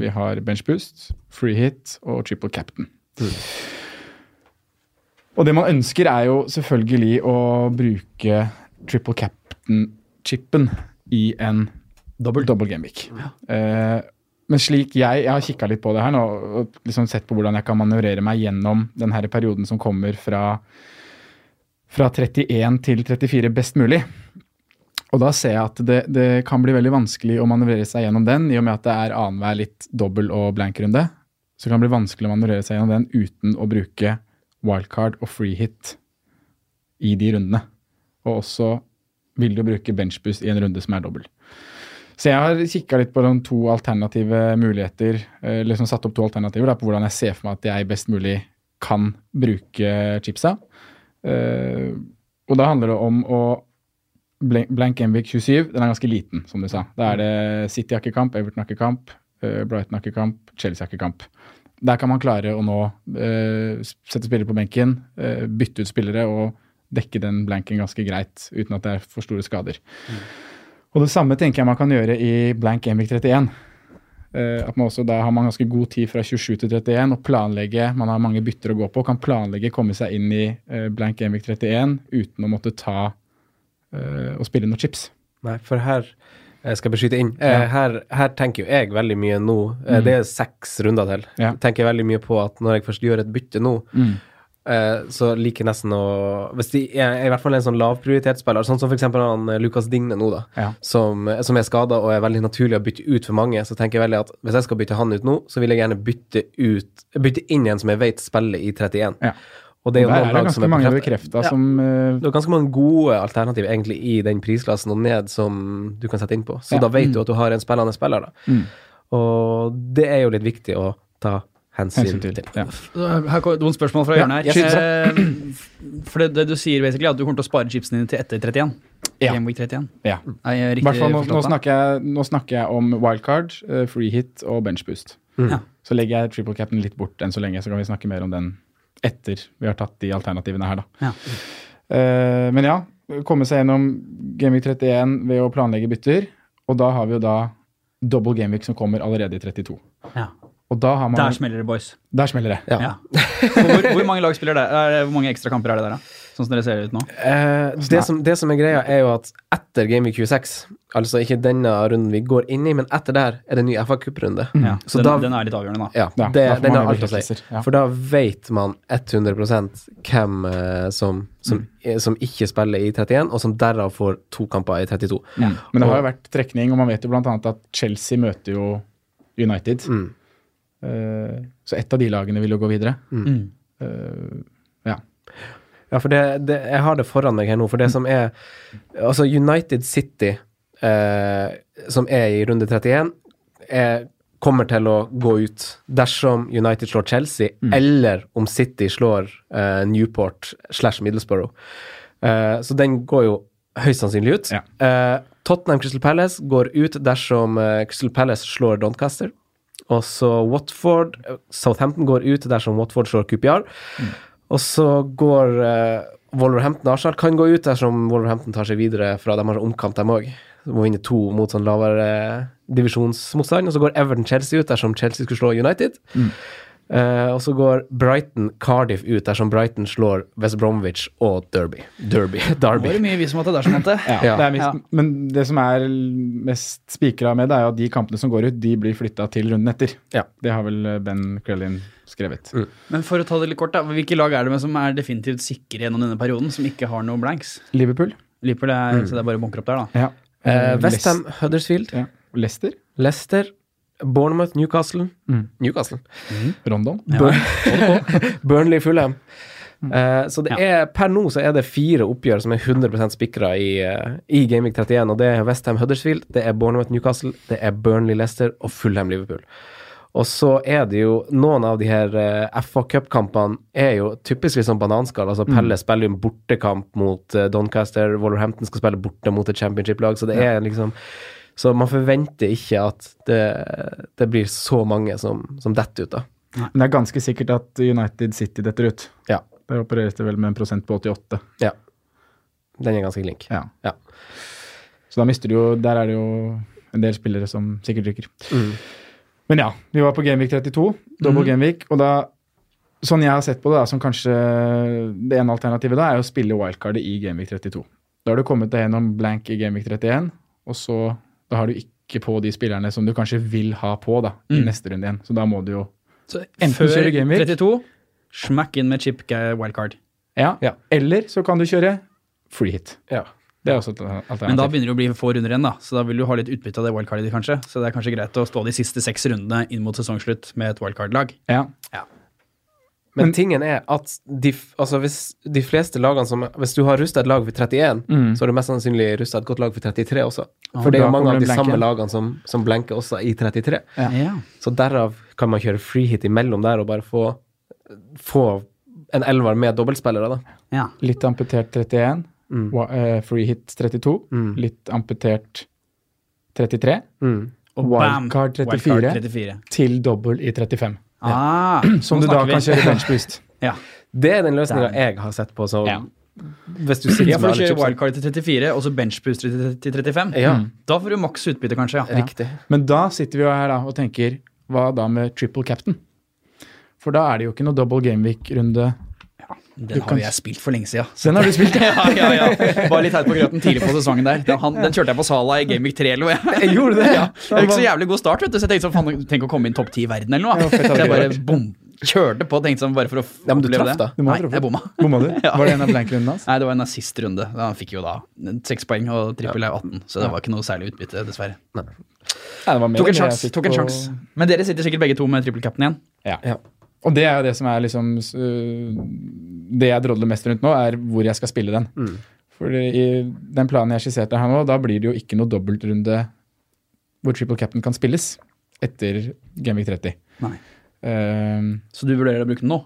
Vi har bench boost, free hit og triple captain. Og det man ønsker, er jo selvfølgelig å bruke triple captain-chipen i en dobbel, game week. Eh, men slik jeg, jeg har kikka litt på det her nå, og liksom sett på hvordan jeg kan manøvrere meg gjennom den her perioden som kommer fra fra 31 til 34 best mulig. Og da ser jeg at det, det kan bli veldig vanskelig å manøvrere seg gjennom den, i og med at det er annenhver litt dobbel og blank-runde. Så det kan bli vanskelig å manøvrere seg gjennom den uten å bruke wildcard og free hit i de rundene. Og også vil du bruke benchboost i en runde som er dobbel. Så jeg har kikka litt på de to alternative muligheter, eh, liksom satt opp to alternativer da, på hvordan jeg ser for meg at jeg best mulig kan bruke chipsa. Eh, og da handler det om å blank, blank Envik 27, den er ganske liten, som du sa. Da er det City har ikke kamp, Everton har ikke kamp, eh, Brighton har ikke kamp, Chelsea har ikke kamp. Der kan man klare å nå eh, sette spillere på benken, eh, bytte ut spillere og dekke den blanken ganske greit uten at det er for store skader. Og det samme tenker jeg man kan gjøre i blank Envik 31. Eh, at man også da har man ganske god tid fra 27 til 31 og planlegge, man har mange bytter å gå på, kan planlegge komme seg inn i eh, blank Envik 31 uten å måtte ta eh, og spille noen chips. Nei, for her eh, skal jeg beskytte inn. Eh, Her, her tenker jo jeg veldig mye nå, eh, Mm. det er seks runder til, Ja. tenker jeg veldig mye på at når jeg først gjør et bytte nå, Mm. eh, så liker jeg nesten å Hvis de er, er i hvert fall en sånn lavprioritetsspiller, sånn som f.eks. han eh, Lukas Digne nå, da, Ja. som, eh, som er skada og er veldig naturlig å bytte ut for mange, så tenker jeg veldig at hvis jeg skal bytte han ut nå, så vil jeg gjerne bytte, ut, bytte inn en som jeg vet spiller i 31. Ja. Og det er jo Der noen er det lag som ganske er mange bekreftet. bekrefta Ja. som eh, Det er ganske mange gode alternativer egentlig i den prisklassen og ned som du kan sette inn på. Så Ja. da vet Mm. du at du har en spillende spiller, da. Mm. Og det er jo litt viktig å ta hensyn, hensyn til. til. Ja. Her kommer noen spørsmål fra Ja, hjørnet jeg her. Eh, For det, det du sier, basically, er at du kommer til å spare chipsene dine til etter 31. Ja. Game week 31. Ja. Er jeg I hvert riktig fall nå, nå, forstått? da? snakker jeg, nå snakker jeg om wildcard, eh, free hit og benchboost. Mm. Ja. Så legger jeg triple cap'n litt bort enn så lenge, så kan vi snakke mer om den etter vi har tatt de alternativene her, da. Ja. Eh, men ja, komme seg gjennom Gameweek 31 ved å planlegge bytter. Og da har vi jo da double Gameweek som kommer allerede i 32. Ja. Og da har man Der smeller det, boys. Der smeller det. Ja. Ja. Hvor, hvor mange lag spiller det? Er, det- hvor mange ekstra kamper er det der, da? Sånn som dere ser ut nå? Eh, det, som, det som er greia, er jo at etter Game Week 26, altså ikke denne runden vi går inn i, men etter der er det en ny FA Cup-runde. Mm. Ja. Så den, da- den er litt avgjørende, da. Ja, Ja, det, da får den man har alt å si. bekreftelser, ja. For da vet man 100 hvem eh, som, som, Mm. eh, som ikke spiller i 31, og som derav får to kamper i 32. Mm. Men det har jo vært trekning, og man vet jo bl.a. at Chelsea møter jo United. Mm. Eh, så ett av de lagene vil jo gå videre. Mm. Eh, ja. Ja, for det, det, jeg har det foran meg her nå, for det som er Altså, United City, eh, som er i runde 31, er, kommer til å gå ut dersom United slår Chelsea, eller om City slår eh, Newport slash Middlesbrough. Eh, så den går jo høyst sannsynlig ut. Ja. Eh, Tottenham Crystal Palace går ut dersom eh, Crystal Palace slår Doncaster. Og så Watford Southampton går ut dersom Watford slår QPR. Og så går eh, Wolverhampton Arsenal kan gå ut dersom Wolverhampton tar seg videre fra de har omkamp, dem òg. Må vinne to mot sånn lavere eh, divisjonsmotstand. Og så går Everton Chelsea ut dersom Chelsea skulle slå United. Eh, og så går Brighton Cardiff ut dersom Brighton slår West Bromwich og Derby. Derby. Nå er Derby. det mye vi som har tatt dersom, jente. Ja, Ja. Det er mest, Ja. Men det som er mest spikra med det, er jo at de kampene som går ut, de blir flytta til runden etter. Ja. Det har vel eh, Ben Crellin skrevet. Men for å ta det litt kort, da. Hvilke lag er det med som er definitivt sikre gjennom denne perioden, som ikke har noe blanks? Liverpool. Liverpool er, Mm. Så det er bare å bunker opp der, da. Ja. Eh, West Ham Huddersfield. Ja. Leicester. Leicester, Bournemouth, Newcastle Mm. Newcastle. Rondon. Burnley, Fulham. Eh, så det Ja. er, per nå så er det fire oppgjør som er 100 spikra i, uh, i Gaming 31. Og det er Westham Huddersfield, det er Bournemouth Newcastle, det er Burnley Leicester og Fulham Liverpool. Og så er det jo noen av de her eh, FA Cup-kampene er jo typisk litt sånn bananskall. Altså Pelle spiller jo en bortekamp mot eh, Doncaster, Wolverhampton skal spille borte mot et championship-lag, så det er liksom Så man forventer ikke at det, det blir så mange som, som detter ut, da. Men det er ganske sikkert at United City detter ut. Ja. Der opereres det vel med en prosent på 88. Ja. Den er ganske klink. Ja. Ja. Så da mister du jo Der er det jo en del spillere som sikkert rykker. Men ja, vi var på Gameweek 32, double Gameweek, og da Sånn jeg har sett på det, da, som kanskje det ene alternativet da, er å spille wildcardet i Gameweek 32. Da har du kommet deg gjennom blank i Gameweek 31, og så da har du ikke på de spillerne som du kanskje vil ha på da, i neste runde igjen. Så da må du jo Så Enten før kjører Gameweek. 32, smakk inn med chip eh, wildcard. Ja. Eller så kan du kjøre free hit. Det er også et alternativ. Men da begynner det å bli få runder igjen, da. så da vil du ha litt utbytte av det wildcardet ditt, kanskje. Så det er kanskje greit å stå de siste seks rundene inn mot sesongslutt med et wildcard-lag. Ja. Men tingen er at de, f- altså hvis de fleste lagene som Hvis du har rusta et lag for 31, Mm. så har du mest sannsynlig rusta et godt lag for 33 også. Ja, For det er da jo mange kommer av de den blanken. samme lagene som, som blenker også i 33. Ja. Ja. Så derav kan man kjøre free hit imellom der og bare få, få en elver med dobbeltspillere, da. Ja. Litt amputert 31. Mm. wa- eh, free hit 32. Mm. Litt amputert 33. Mm. Og bam! Wildcard 34. Wildcard 34. Til dobbel i Sånn 35. Ah, Som du nå da snakker vi. kan kjøre bench boost. Ja. Det er den løsninga jeg har sett på. Så Ja. hvis du sitter Ja, for med alle du kjører chipsene wildcard til 34, og så benchbooster til til 35. Ja. Da får du maks utbytte, kanskje. ja. Riktig. Men da sitter vi jo her da og tenker hva da med triple captain? For da er det jo ikke noe double gameweek-runde. Den har kan- jo jeg spilt for lenge siden. Den har du spilt! Ja, ja, ja. Var litt teit på grøten tidlig på sesongen der. Den, han, den kjørte jeg på Sala i Game Week 3 eller noe. jeg. Gjorde du det? Ja, det var ikke så jævlig god start, vet du. Så jeg tenkte sånn, faen, tenk å komme inn topp 10 i verden eller noe. Ja, fett hadde Så jeg det bare vært. bom, kjørte på, tenkte sånn, bare for å f- Ja, men du oppleve traff, det. da. Du må ha Nei, truffet. jeg bomma. Bomma du? Var det en av blank-rundene hans? Nei, det var en av siste runde. Han fikk jo da seks poeng og trippel er 18, så det var ikke noe særlig utbytte, dessverre. Nei, det var mer enn det Tok en jeg sjanse. fikk Tok en på- sjanse. Men dere sitter sikkert begge to med trippel cap'n igjen. Ja. Ja. Og det er jo det som er liksom øh, Det jeg drodler mest rundt nå, er hvor jeg skal spille den. Mm. For i den planen jeg skisserte her nå, da blir det jo ikke noe dobbeltrunde hvor triple captain kan spilles etter Gamvik 30. Nei. Ehm, Så du vurderer å bruke den nå?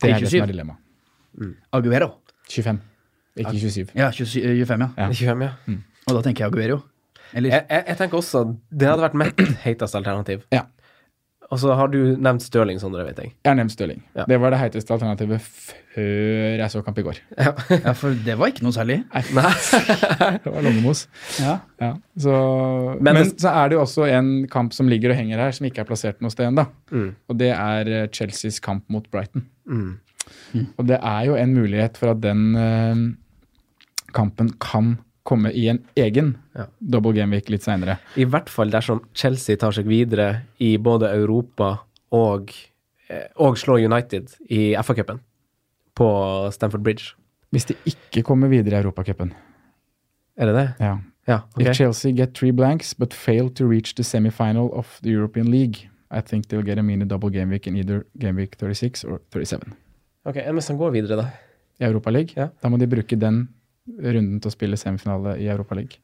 det Til er det som er dilemmaet. Aguero. 25, ikke 27. Ja, 27, 25, ja. Ja. Ikke hvem, ja. Og da tenker jeg Aguero. Eller Jeg, jeg, jeg tenker også at det hadde vært mitt heiteste alternativ. Ja. Og så har du nevnt Stirling, Sondre, vet jeg. Jeg har nevnt Stirling. Ja. Det var det heiteste alternativet før jeg så kamp i går. Ja, for det var ikke noe særlig. Det var Longemos. Ja. Ja, så, Men men, det- så er det jo også en kamp som ligger og henger her, som ikke er plassert noe sted ennå. Mm. Og det er eh, Chelseas kamp mot Brighton. Mm. Og det er jo en mulighet for at den eh, kampen kan komme i en egen Ja. double game week litt seinere. I hvert fall dersom Chelsea tar seg videre i både Europa og, eh, og slår United i FA-cupen på Stamford Bridge. Hvis de ikke kommer videre i Europacupen. Er det det? Ja. Ja. ok. If Chelsea get three blanks but fail to reach the semifinal of the European League, I think they'll get a mini double game week in either game week 36 or 37. Ok, enn hvis han går videre, da? I Europa League, Ja. da må de bruke den runden til å spille semifinale i Europa League.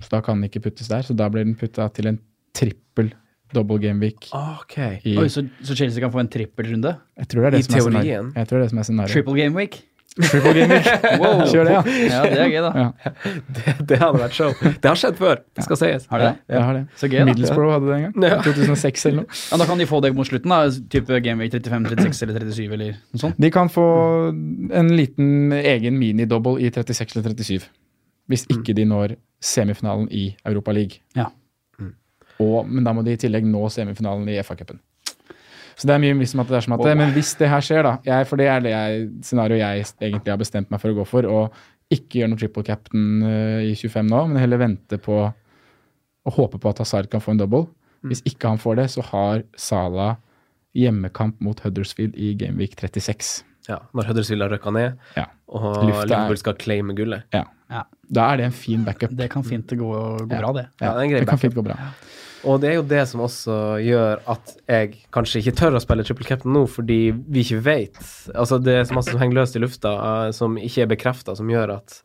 Så da kan den ikke puttes der, så da blir den putta til en trippel double game week. Ok. I, Oi, så, så Chelsea kan få en trippelrunde? jeg tror det er det i som er teorien. scenarioet. Jeg tror det er det som er scenarioet. Triple game week? Triple game week. Wow. Kjør det, ja. Ja, det er gøy, da. ja. Det hadde vært show. Det har skjedd før, det skal sies. Har de det? Jeg har det. Så gøy, da. Middlesbrough hadde det en gang. Ja. 2006 eller noe. Ja, da kan de få det mot slutten, da. Type game week 35, 36 eller 37 eller noe sånt. De kan få en liten egen mini-double i 36 eller 37. Hvis ikke de når semifinalen i Europa League. Ja. Og, men da må de i tillegg nå semifinalen i FA-cupen. Så det er mye liksom at det er som at det, Men hvis det her skjer, da jeg, For det er det jeg, scenarioet jeg egentlig har bestemt meg for å gå for. Og ikke gjøre noe triple captain eh, i 25 nå, men heller vente på og håpe på at Hazard kan få en double. Mm. Hvis ikke han får det, så har Salah hjemmekamp mot Huddersfield i Gameweek 36. Ja, Når Huddersfield har røkka ned, Ja. og Lufta er- Liverpool skal claime gullet. Ja. Ja. Da er det en fin backup. Det kan fint gå, gå bra, det. Ja, det er en grei kan backup. fint gå bra. Og det er jo det som også gjør at jeg kanskje ikke tør å spille triple captain nå, fordi vi ikke vet. Altså, det er så masse som henger løst i lufta, eh, som ikke er bekrefta, som gjør at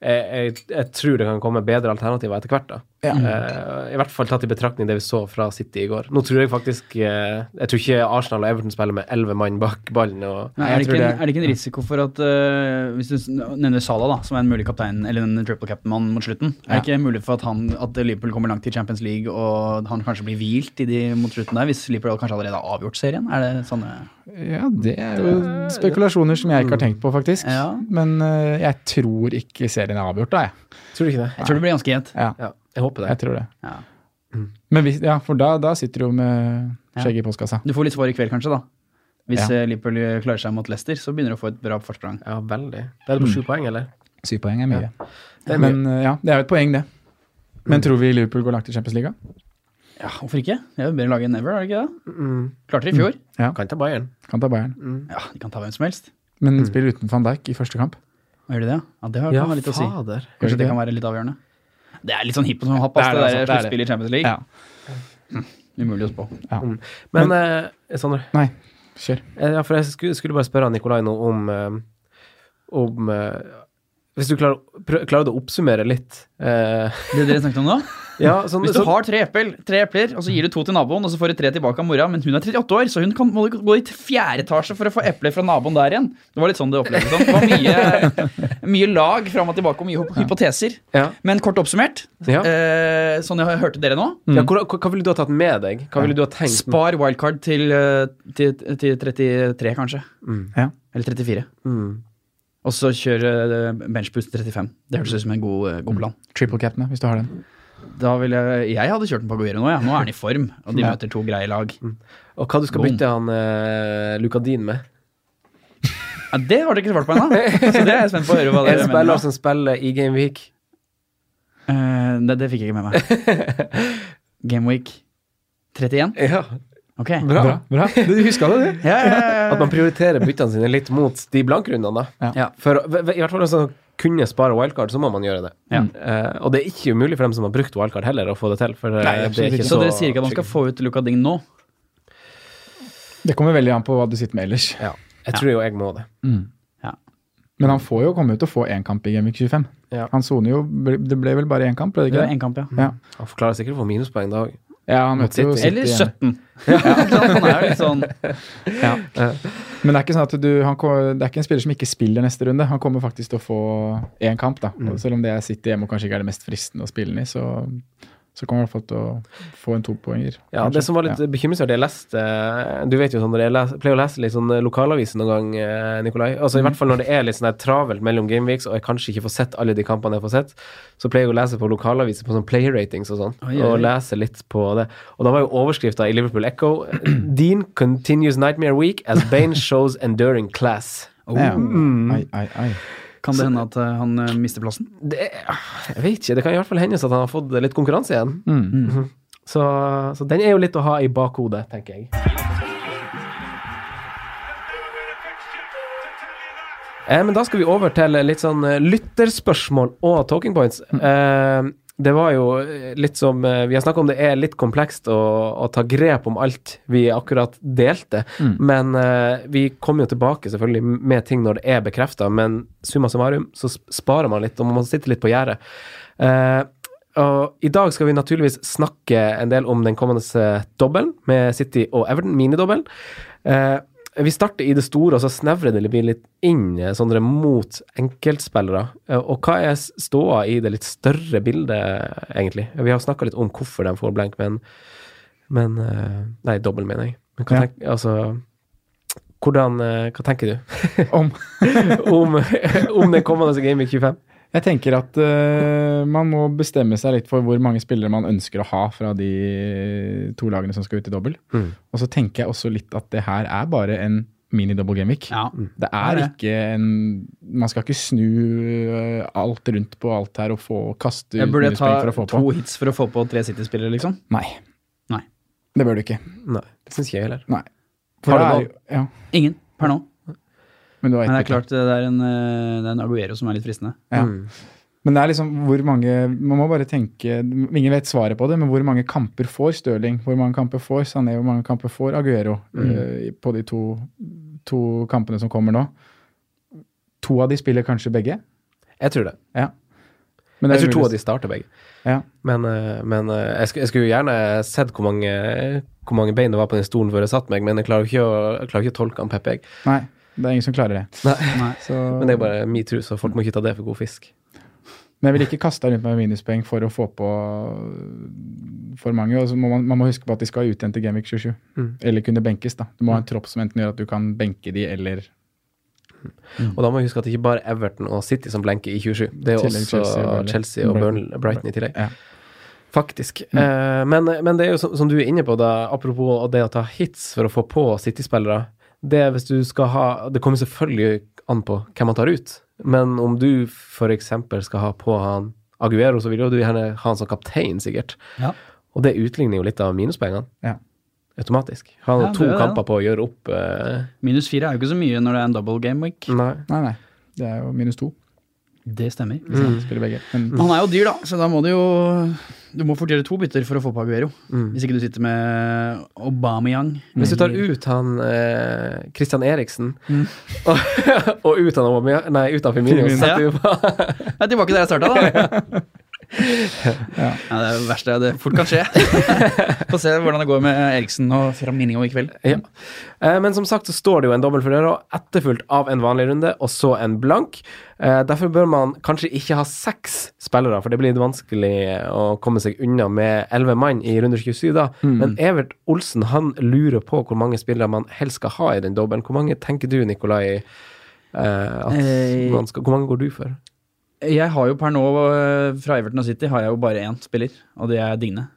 jeg, jeg, jeg tror det kan komme bedre alternativer etter hvert. da. Eh, I hvert fall tatt i betraktning det vi så fra City i går. Nå tror jeg faktisk eh, Jeg tror ikke Arsenal og Everton spiller med elleve mann bak ballen. og Nei, Jeg er, det tror ikke en, det er- er det ikke en risiko for at øh, Hvis du s- nevner Salah, da, som er en mulig kaptein eller en triple captain-mann mot slutten Er det ikke mulig for at, han, at Liverpool kommer langt i Champions League, og han kanskje blir hvilt i de mot slutten der, hvis Liverpool kanskje allerede har avgjort serien? Er det sånn øh, Ja, det er jo spekulasjoner som jeg ikke har tenkt på, faktisk. Ja. Men eh, jeg tror ikke serien er avgjort, da, jeg. Tror du ikke det? Jeg tror det blir ganske jevnt. Ja, Ja, jeg håper det. jeg tror det. Ja. Men hvis, ja, for da, da sitter du jo med skjegget i postkassa. Du får litt svar i kveld, kanskje, da. Hvis Ja. eh, Liverpool klarer seg mot Leicester, så begynner du å få et bra forsprang. Ja, veldig. Det Mm. er det på sju poeng, eller? Syv poeng er mye. Det er mye. Men eh, ja, det er jo et poeng, det. Men tror vi Liverpool går langt i Champions League? Ja, hvorfor ikke? Det er jo bedre lag enn ever, er det ikke det? Mm. Klarte det i fjor. Ja, Kan ta Bayern. kan ta Bayern. Ja, de kan ta hvem som helst. Men de spiller uten van Dijk i første kamp. Gjør de det? Ja, det har Ja, kan være litt å si. fader. Kanskje det Gjør kan de være litt avgjørende. Det er litt sånn hipp som happ, ass, det, der sluttspillet i Champions League. Hm, Umulig å spå. Mm. Men, eh, Sondre Nei, kjør. Eh, Ja, for jeg skulle, skulle bare spørre Nikolai nå om, eh, om eh, Hvis du klarer, prø- klarer du å oppsummere litt eh, Det dere snakket om nå? Ja, sånn- Hvis du sånn- har tre epler, tre epler, og så gir du to til naboen, og så får du tre tilbake av mora, men hun er 38 år, så hun kan, må gå i fjerde etasje for å få epler fra naboen der igjen. Det var litt sånn det opplevdes. Sånn. Det var mye, mye lag fram og tilbake og mye hypo- hypoteser. Ja. Men kort oppsummert, Ja. eh, sånn jeg hørte dere nå Ja, hvor, hva, hva ville du ha tatt med deg? Hva ville du ha tenkt? Spar wildcard til, eh, til, til 33, kanskje. Ja. Eller 34. Mm. Og så kjøre eh, benchboost 35. Det hørtes ut som en god, eh, god plan. Triple cap'n, hvis du har den. Da vil jeg, jeg hadde kjørt den på Aguero nå, ja. Nå er han i form, og de Ja. møter to greie lag. Og hva du skal Boom. bytte han eh, Lukadin med? Ja, det har dere ikke svart på ennå, så det er jeg spent på å høre En hva dere mener. spiller som spiller i Game Week. Eh, det, det fikk jeg ikke med meg. Gameweek 31? Ja, Ok. bra. Bra. bra. Du huska det, du. Ja, ja, ja, At man prioriterer byttene sine litt mot de blankrundene, da. ja. ja. For v- v- i hvert fall hvis man kunne spare wildcard, så må man gjøre det. Ja. Eh, og det er ikke umulig for dem som har brukt wildcard heller, å få det til. For eh, Nei, absolutt det er ikke. ikke Så så, dere sier ikke at man skal få ut Luka Ding nå? Det kommer veldig an på hva du sitter med ellers. Ja. Jeg tror jo jeg må det. Men han får jo komme ut og få én kamp i Gamvik 25. Ja. Han soner jo Det ble vel bare én kamp, ble det Det ikke er det? en kamp, ja. Ja. Han forklarer sikkert å få minuspoeng da òg. ja, han møter jo City. City Eller igjen. 17. Ja, ikke sant? han er jo litt sånn Men det er ikke sånn at du, han, ko- det er ikke en spiller som ikke spiller neste runde. Han kommer faktisk til å få én kamp, da. Mm. Og Selv om det er City hjemme og kanskje ikke er det mest fristende å spille den i, så, så kommer han i hvert fall til å få en topoenger. Ja, kanskje. det som var litt Ja. bekymringsverdig, jeg leste eh, Du vet jo sånn, jeg les- pleier å lese litt sånn eh, lokalaviser noen gang, eh, Nikolai. Altså I hvert fall når det er litt sånn her travelt mellom gameweeks, og jeg kanskje ikke får sett alle de kampene jeg får sett, så pleier jeg å lese på lokalaviser på sånn player ratings og sånn, Oi, oi, oi. og lese litt på det. Og da var jo overskrifta i Liverpool Echo Dean continues nightmare week as Bane shows enduring class. Ja. Mm. Mm. Ai, ai, ai. Oh. Kan det hende at eh, han eh, mister plassen? Det, jeg vet ikke, det kan i hvert fall hendes at han har fått litt konkurranse igjen. Mhm. Så, så den er jo litt å ha i bakhodet, tenker jeg. Eh, men da skal vi over til litt sånn eh, lytterspørsmål og talking points. Eh, det var jo eh, litt som eh, Vi har snakka om det er litt komplekst å, å ta grep om alt vi akkurat delte. Men eh, vi kommer jo tilbake selvfølgelig med ting når det er bekrefta, men summa summarum så sp- sparer man litt, og man sitter litt på gjerdet. Eh, og I dag skal vi naturligvis snakke en del om den kommende eh, dobbelen med City og Everton, minidobbelen. Eh, vi starter i det store, og så snevrer det blir litt inn eh, Sondre, mot enkeltspillere. Eh, og hva er s- ståa i det litt større bildet, egentlig? Vi har snakka litt om hvorfor de får blank, men, men eh, Nei, dobbel, mener jeg. Men hva Ja. tenk, altså, hvordan, eh, hva tenker du Om om, om den kommende Game Week 25? Jeg tenker at eh, man må bestemme seg litt for hvor mange spillere man ønsker å ha fra de to lagene som skal ut i dobbel. Mm. Og så tenker jeg også litt at det her er bare en mini-double gameweek. Ja. Det er Det er det. ikke en Man skal ikke snu eh, alt rundt på alt her og få kaste ut Jeg burde mye ta spill for å få to på. hits for å få på tre City-spillere, liksom. Nei. Nei. Det bør du ikke. Nei, det syns ikke jeg heller. Nei. Har det du er jo- ja, Ingen per nå. men, du har Men det ett er klart det er en, eh, det er en Aguero som er litt fristende. Ja. Mm. Men det er liksom hvor mange Man må bare tenke Ingen vet svaret på det, men hvor mange kamper får Stirling? Hvor mange kamper får Sané? Hvor mange kamper får Aguero Mm. eh, på de to, to kampene som kommer nå? To av de spiller kanskje begge? Jeg tror det. Ja. Men Jeg tror to mulig- av de starter begge. Ja. Men, eh, men eh, jeg, skulle, jeg skulle jo gjerne sett hvor mange, hvor mange bein det var på den stolen før jeg satt meg, men jeg klarer jo ikke å, jeg klarer ikke å tolke han Peppe, jeg. Nei, det er ingen som klarer det. Nei. Så, Men det er bare metoo, så folk må ikke ta det for god fisk. Men jeg vil ikke kaste rundt meg med minuspoeng for å få på øh, for mange. Og så må man, man må huske på at de skal ut igjen til Gamvik 27. Eller kunne benkes, da. Du må ha en tropp som enten gjør at du kan benke de, eller Og da må vi huske at det ikke bare er Everton og City som blenker i 27. Det er jo Tillegg også Chelsea Chelsea og og, Burnley. Burnley- Brighton i tillegg. Ja. Faktisk. Eh, men, men det er jo som, som du er inne på, da, apropos det å ta hits for å få på City-spillere. Det er hvis du skal ha Det kommer selvfølgelig an på hvem man tar ut, men om du f.eks. skal ha på han Aguero, så vil jo du gjerne ha han som kaptein, sikkert. Ja. Og det utligner jo litt av minuspoengene. Ja. automatisk. Han Ja, hadde det to er det, kamper da. på å gjøre opp eh, Minus fire er jo ikke så mye når det er en double game week. Mm. Nei. Nei, Mm. nei. Det er jo minus to. Det stemmer. hvis Mm. han Spiller begge. Men Han er jo dyr, da, så da må du jo Du må fort gjøre to bytter for å få på Aguero. Mm. Hvis ikke du sitter med Aubameyang. Hvis du tar eller- ut han eh, Christian Eriksen Mm. og, og ut han Aubameyang- Nei, ut han Firmino, Firmino. så setter Ja. du på Jeg er tilbake der jeg starta, da. Ja, det er det verste det fort kan skje. Få se hvordan det går med Eriksen og Firmino i kveld. Ja. Eh, Men som sagt så står det jo en dobbel for døra, etterfulgt av en vanlig runde og så en blank. Eh, Derfor bør man kanskje ikke ha seks spillere, for det blir litt vanskelig å komme seg unna med elleve mann i runde 27 da. Mm. Men Evert Olsen han lurer på hvor mange spillere man helst skal ha i den dobbelen. Hvor mange tenker du, Nikolai? eh, At Eh, man skal, hvor mange går du for? Jeg har jo per nå, eh, fra Everton og City, har jeg jo bare én spiller, og det er Digne.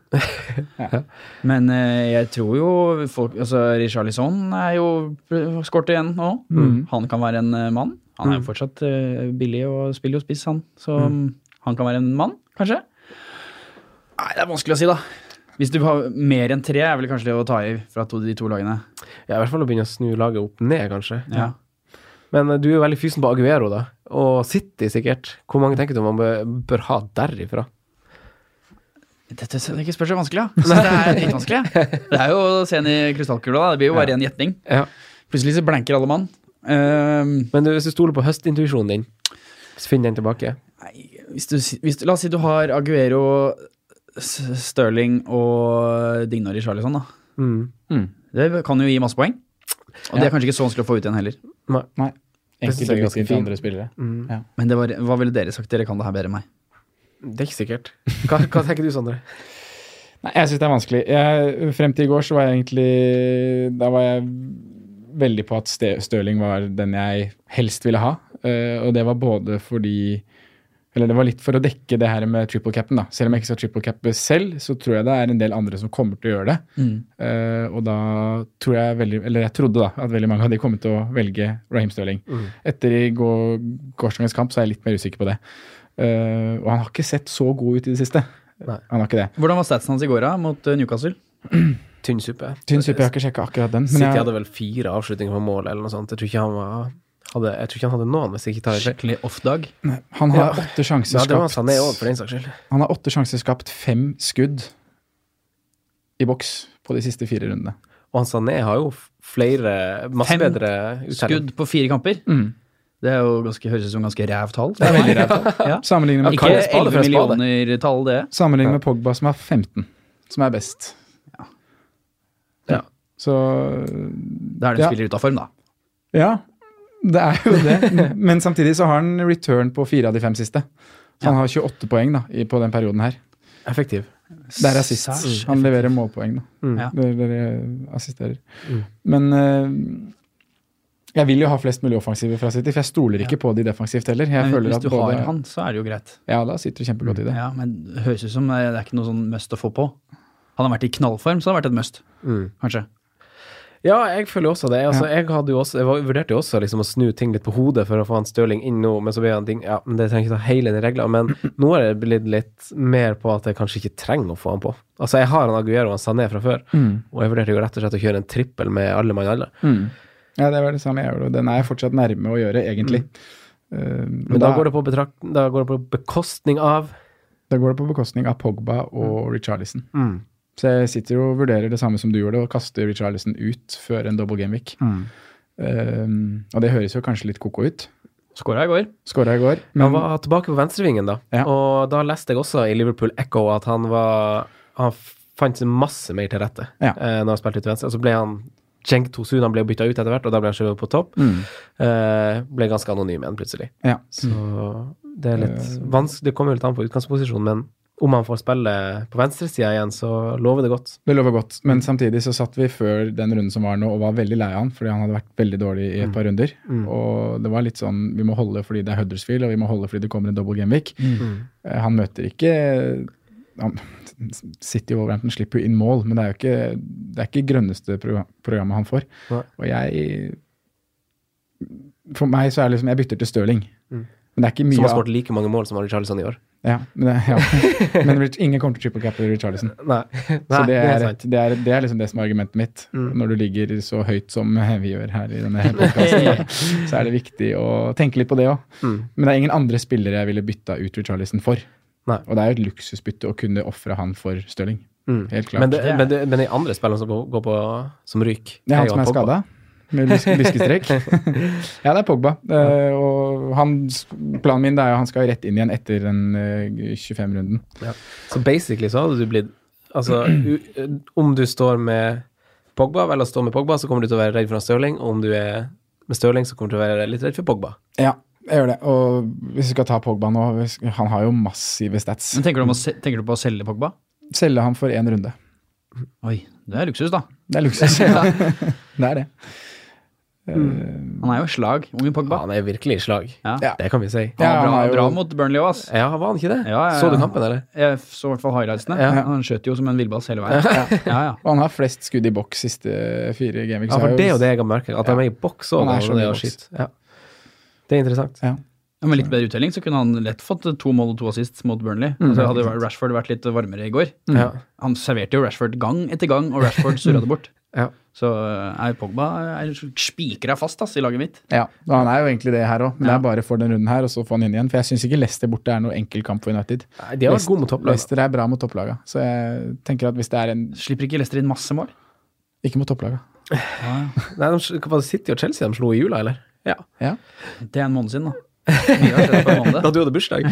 Men eh, jeg tror jo folk Altså, Richarlison er jo eh, skåret igjen nå. Han kan være en eh, mann. Han er jo fortsatt eh, billig og spiller jo spiss, han. Så mm, han kan være en mann, kanskje. Nei, det er vanskelig å si, da. Hvis du har mer enn tre, er vel kanskje det å ta i fra to, de to lagene. Ja, I hvert fall å begynne å snu laget opp ned, kanskje. Ja. Men eh, du er jo veldig fysen på Aguero, da. Og City, sikkert. Hvor mange tenker du man bør, bør ha derifra? Dette er ikke spørs så vanskelig, da. Så det er litt vanskelig. ja. Det er jo å se inn i krystallkula, da. Det blir jo bare en gjetning. Ja. Plutselig så blanker alle mann. Ehm, Men du, hvis du stoler på høstintuisjonen din, så finn den tilbake. hvis du, si- hvis du, la oss si du har Aguero, S- Sterling og Dignor i Charlison, da. Mm. Det kan jo gi masse poeng. Og det er kanskje ikke så vanskelig å få ut igjen heller. Det synes jeg enkelte er ganske bytter til fint. andre spillere. Men det var, hva ville dere sagt? Dere kan det her bedre enn meg. Det er ikke sikkert. Hva, hva tenker du, Sondre? Nei, jeg syns det er vanskelig. Jeg, frem til i går så var jeg egentlig Da var jeg veldig på at Ste- Stirling var den jeg helst ville ha. Eh, og det var både fordi Eller det var litt for å dekke det her med triple capen, da. Selv om jeg ikke skal triple cappe selv, så tror jeg det er en del andre som kommer til å gjøre det. Eh, og da tror jeg veldig Eller jeg trodde da at veldig mange av de kom til å velge Raheem Stirling. Etter i går, gårsdagens kamp så er jeg litt mer usikker på det. Eh, og han har ikke sett så god ut i det siste. Nei. Han har ikke det. Hvordan var statsen hans i går, da, mot eh, Newcastle? Tynn suppe. Tynn suppe, jeg har ikke sjekka akkurat den. City Men jeg, hadde vel fire avslutninger på mål, eller noe sånt. Jeg tror ikke han, var, hadde, jeg tror ikke han hadde noen, hvis jeg ikke tar i feil. Skikkelig off-dag. han har Ja. åtte sjanser Ja, det var sånn skapt. Sané òg, for den saks skyld. han har åtte sjanser skapt fem skudd i boks på de siste fire rundene. Og han Sané har jo f- flere, masse Fem bedre uttelling. Skudd på fire kamper. Mm. Det er jo ganske, høres ut som ganske ræv tall. Det er veldig rævt. Ja. Sammenlignet med, Ikke Kan jeg spade 11 for en spade? millioner tall, det. sammenlignet med Pogba, som har 15, som er best. Ja. Så Da er det en Ja. spiller ute av form, da. Ja, det er jo det. Men samtidig så har han return på fire av de fem siste. Så han har 28 poeng da, i- på den perioden her. Effektiv. Der er sist. Sæsj. Han leverer målpoeng, da. Mm. Ja. Dere, dere assisterer. Men eh, jeg vil jo ha flest mulig offensive fra City, for jeg stoler ikke på de defensivt heller. Jeg Men føler hvis at du både, har han, så er det jo greit. Ja, da sitter du kjempegodt Mm. i det. Ja, men det høres ut som det er ikke noe sånn must å få på. Han har vært i knallform, så det har vært et must, Mm. kanskje. Ja, jeg føler jo også det. Altså, jeg, hadde jo også, jeg var- vurderte jo også liksom, å snu ting litt på hodet for å få han Stirling inn nå, men så ble han ting Ja, men det trenger ikke ta hele den regla, men nå har jeg blitt litt mer på at jeg kanskje ikke trenger å få han på. Altså, jeg har han Aguero og han Sané fra før, og jeg vurderte jo rett og slett å kjøre en trippel med alle mann alle. Ja, det var det samme jeg gjorde. og Den er jeg fortsatt nærme å gjøre, egentlig. Eh, Mm. Men da, går det på betrakt, da går det på bekostning av Da går det på bekostning av Pogba og Richarlison. Mm. Så jeg sitter og vurderer det samme som du gjorde, og kaster Richarlison ut før en double game week. Mm. Um, og det høres jo kanskje litt koko ut. Skåra i går. Skåra i går, Han men var tilbake på venstrevingen, da, Ja. og da leste jeg også i Liverpool Echo at han var Han fant seg masse mer til rette Ja. eh, når han spilte ut til venstre, og så ble han Cenk Tosun han ble bytta ut etter hvert, og da ble han skjøvet på topp. Eh, ble ganske anonym igjen, plutselig. Mm. ja. Eh. Så det er litt vanskelig Det kommer jo litt an på utgangsposisjon, men om han får spille på venstresida igjen, så lover det godt. det lover godt. Men samtidig så satt vi før den runden som var nå, og var veldig lei av han fordi han hadde vært veldig dårlig i et par runder. Og det var litt sånn vi må holde fordi det er Huddersfield, og vi må holde fordi det kommer en double game week. Mm. Eh, Han møter ikke han, City og Wolverhampton slipper jo inn mål, men det er jo ikke det er ikke grønneste progra- programmet han får. Nei. Og jeg For meg så er det liksom Jeg bytter til Stirling. Men det er ikke Som mye har av- skåret like mange mål som Charlison i år. Ja, men, det- ja. men Rich, ingen kommer til å triple cap Richarlison. Nei. Så Nei, det det er er, sant. et- det, er, det er liksom det som er argumentet mitt. Mm. Når du ligger så høyt som vi gjør her i denne podcasten, så er det viktig å tenke litt på det òg. Mm. Men det er ingen andre spillere jeg ville bytta ut Richarlison for. Nei. Og det er jo et luksusbytte å kunne ofre han for Stirling. Mm. Helt klart. Men, det, men, det, men de andre spillene som går, går på som ryk Det er han som er jo Pogba. skada. Med lyske, lyskestrekk. ja, det er Pogba. Eh, og han, planen min det er jo han skal rett inn igjen etter den eh, 25-runden. Så basically så hadde du blitt Altså, u, om du står med Pogba, vel å stå med Pogba, så kommer du til å være redd for han Stirling, og om du er med Stirling, så kommer du til å være litt redd for Pogba. Ja, jeg gjør det. Og hvis vi skal ta Pogba nå hvis- Han har jo massive stats. Men tenker du, om å, se- tenker du på å selge Pogba? Selge ham for én runde. Oi, det er luksus, da. Det er luksus. det er det. Han er jo i slag, unge Pogba. Han er virkelig i slag. Ja. Ja. Det kan vi si. Ja, han han var er jo- bra, bra mot Burnley òg, ass. Ja, var han ikke det? Ja, ja, ja. Så du kampen, eller? Jeg så i hvert fall highlightsene. Ja. Han skjøt jo som en villbass hele veien. Ja, ja. Og han har flest skudd i boks siste fire gameweeks. Ja, for det er jo det jeg har merket, at de er i boks og Han er og sånn det i å boks. skyte. Ja. Det er interessant. Ja. Ja, Med litt bedre uttelling så kunne han lett fått to mål og to assist mot Burnley. Mm. så hadde Rashford vært litt varmere i går. Ja. Han serverte jo Rashford gang etter gang, og Rashford surra det bort. Ja. Så eh, er Pogba er spikra fast ass, i laget mitt. Ja, og han er jo egentlig det her òg, men det Ja. er bare for den runden her, og så få han inn igjen. For jeg syns ikke Leicester borte er noe enkel kamp for United. Nei, De har vært Leicester- gode mot topplaget. Leicester er bra mot topplaga, så jeg tenker at hvis det er en Slipper ikke Leicester inn masse mål? Ikke mot topplaga. Nei, de, sl- var det City og Chelsea de slo i jula, eller? Ja. Ja, Det er en måned siden, da. Mye har skjedd på Da en måned. du hadde bursdag.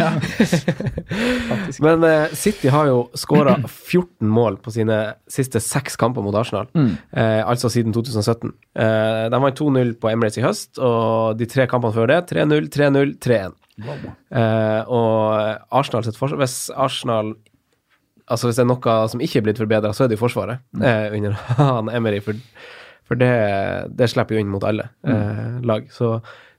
Men eh, City har jo skåra 14 mål på sine siste seks kamper mot Arsenal, eh, altså siden 2017. Eh, de vant 2-0 på Emirates i høst, og de tre kampene før det 3-0, 3-0, 3-1. Eh, og Arsenal sitt forsvar Hvis Arsenal Altså hvis det er noe som ikke er blitt forbedra, så er det jo Forsvaret eh, under han Emery, for, for det, det slipper jo inn mot alle eh, lag. Så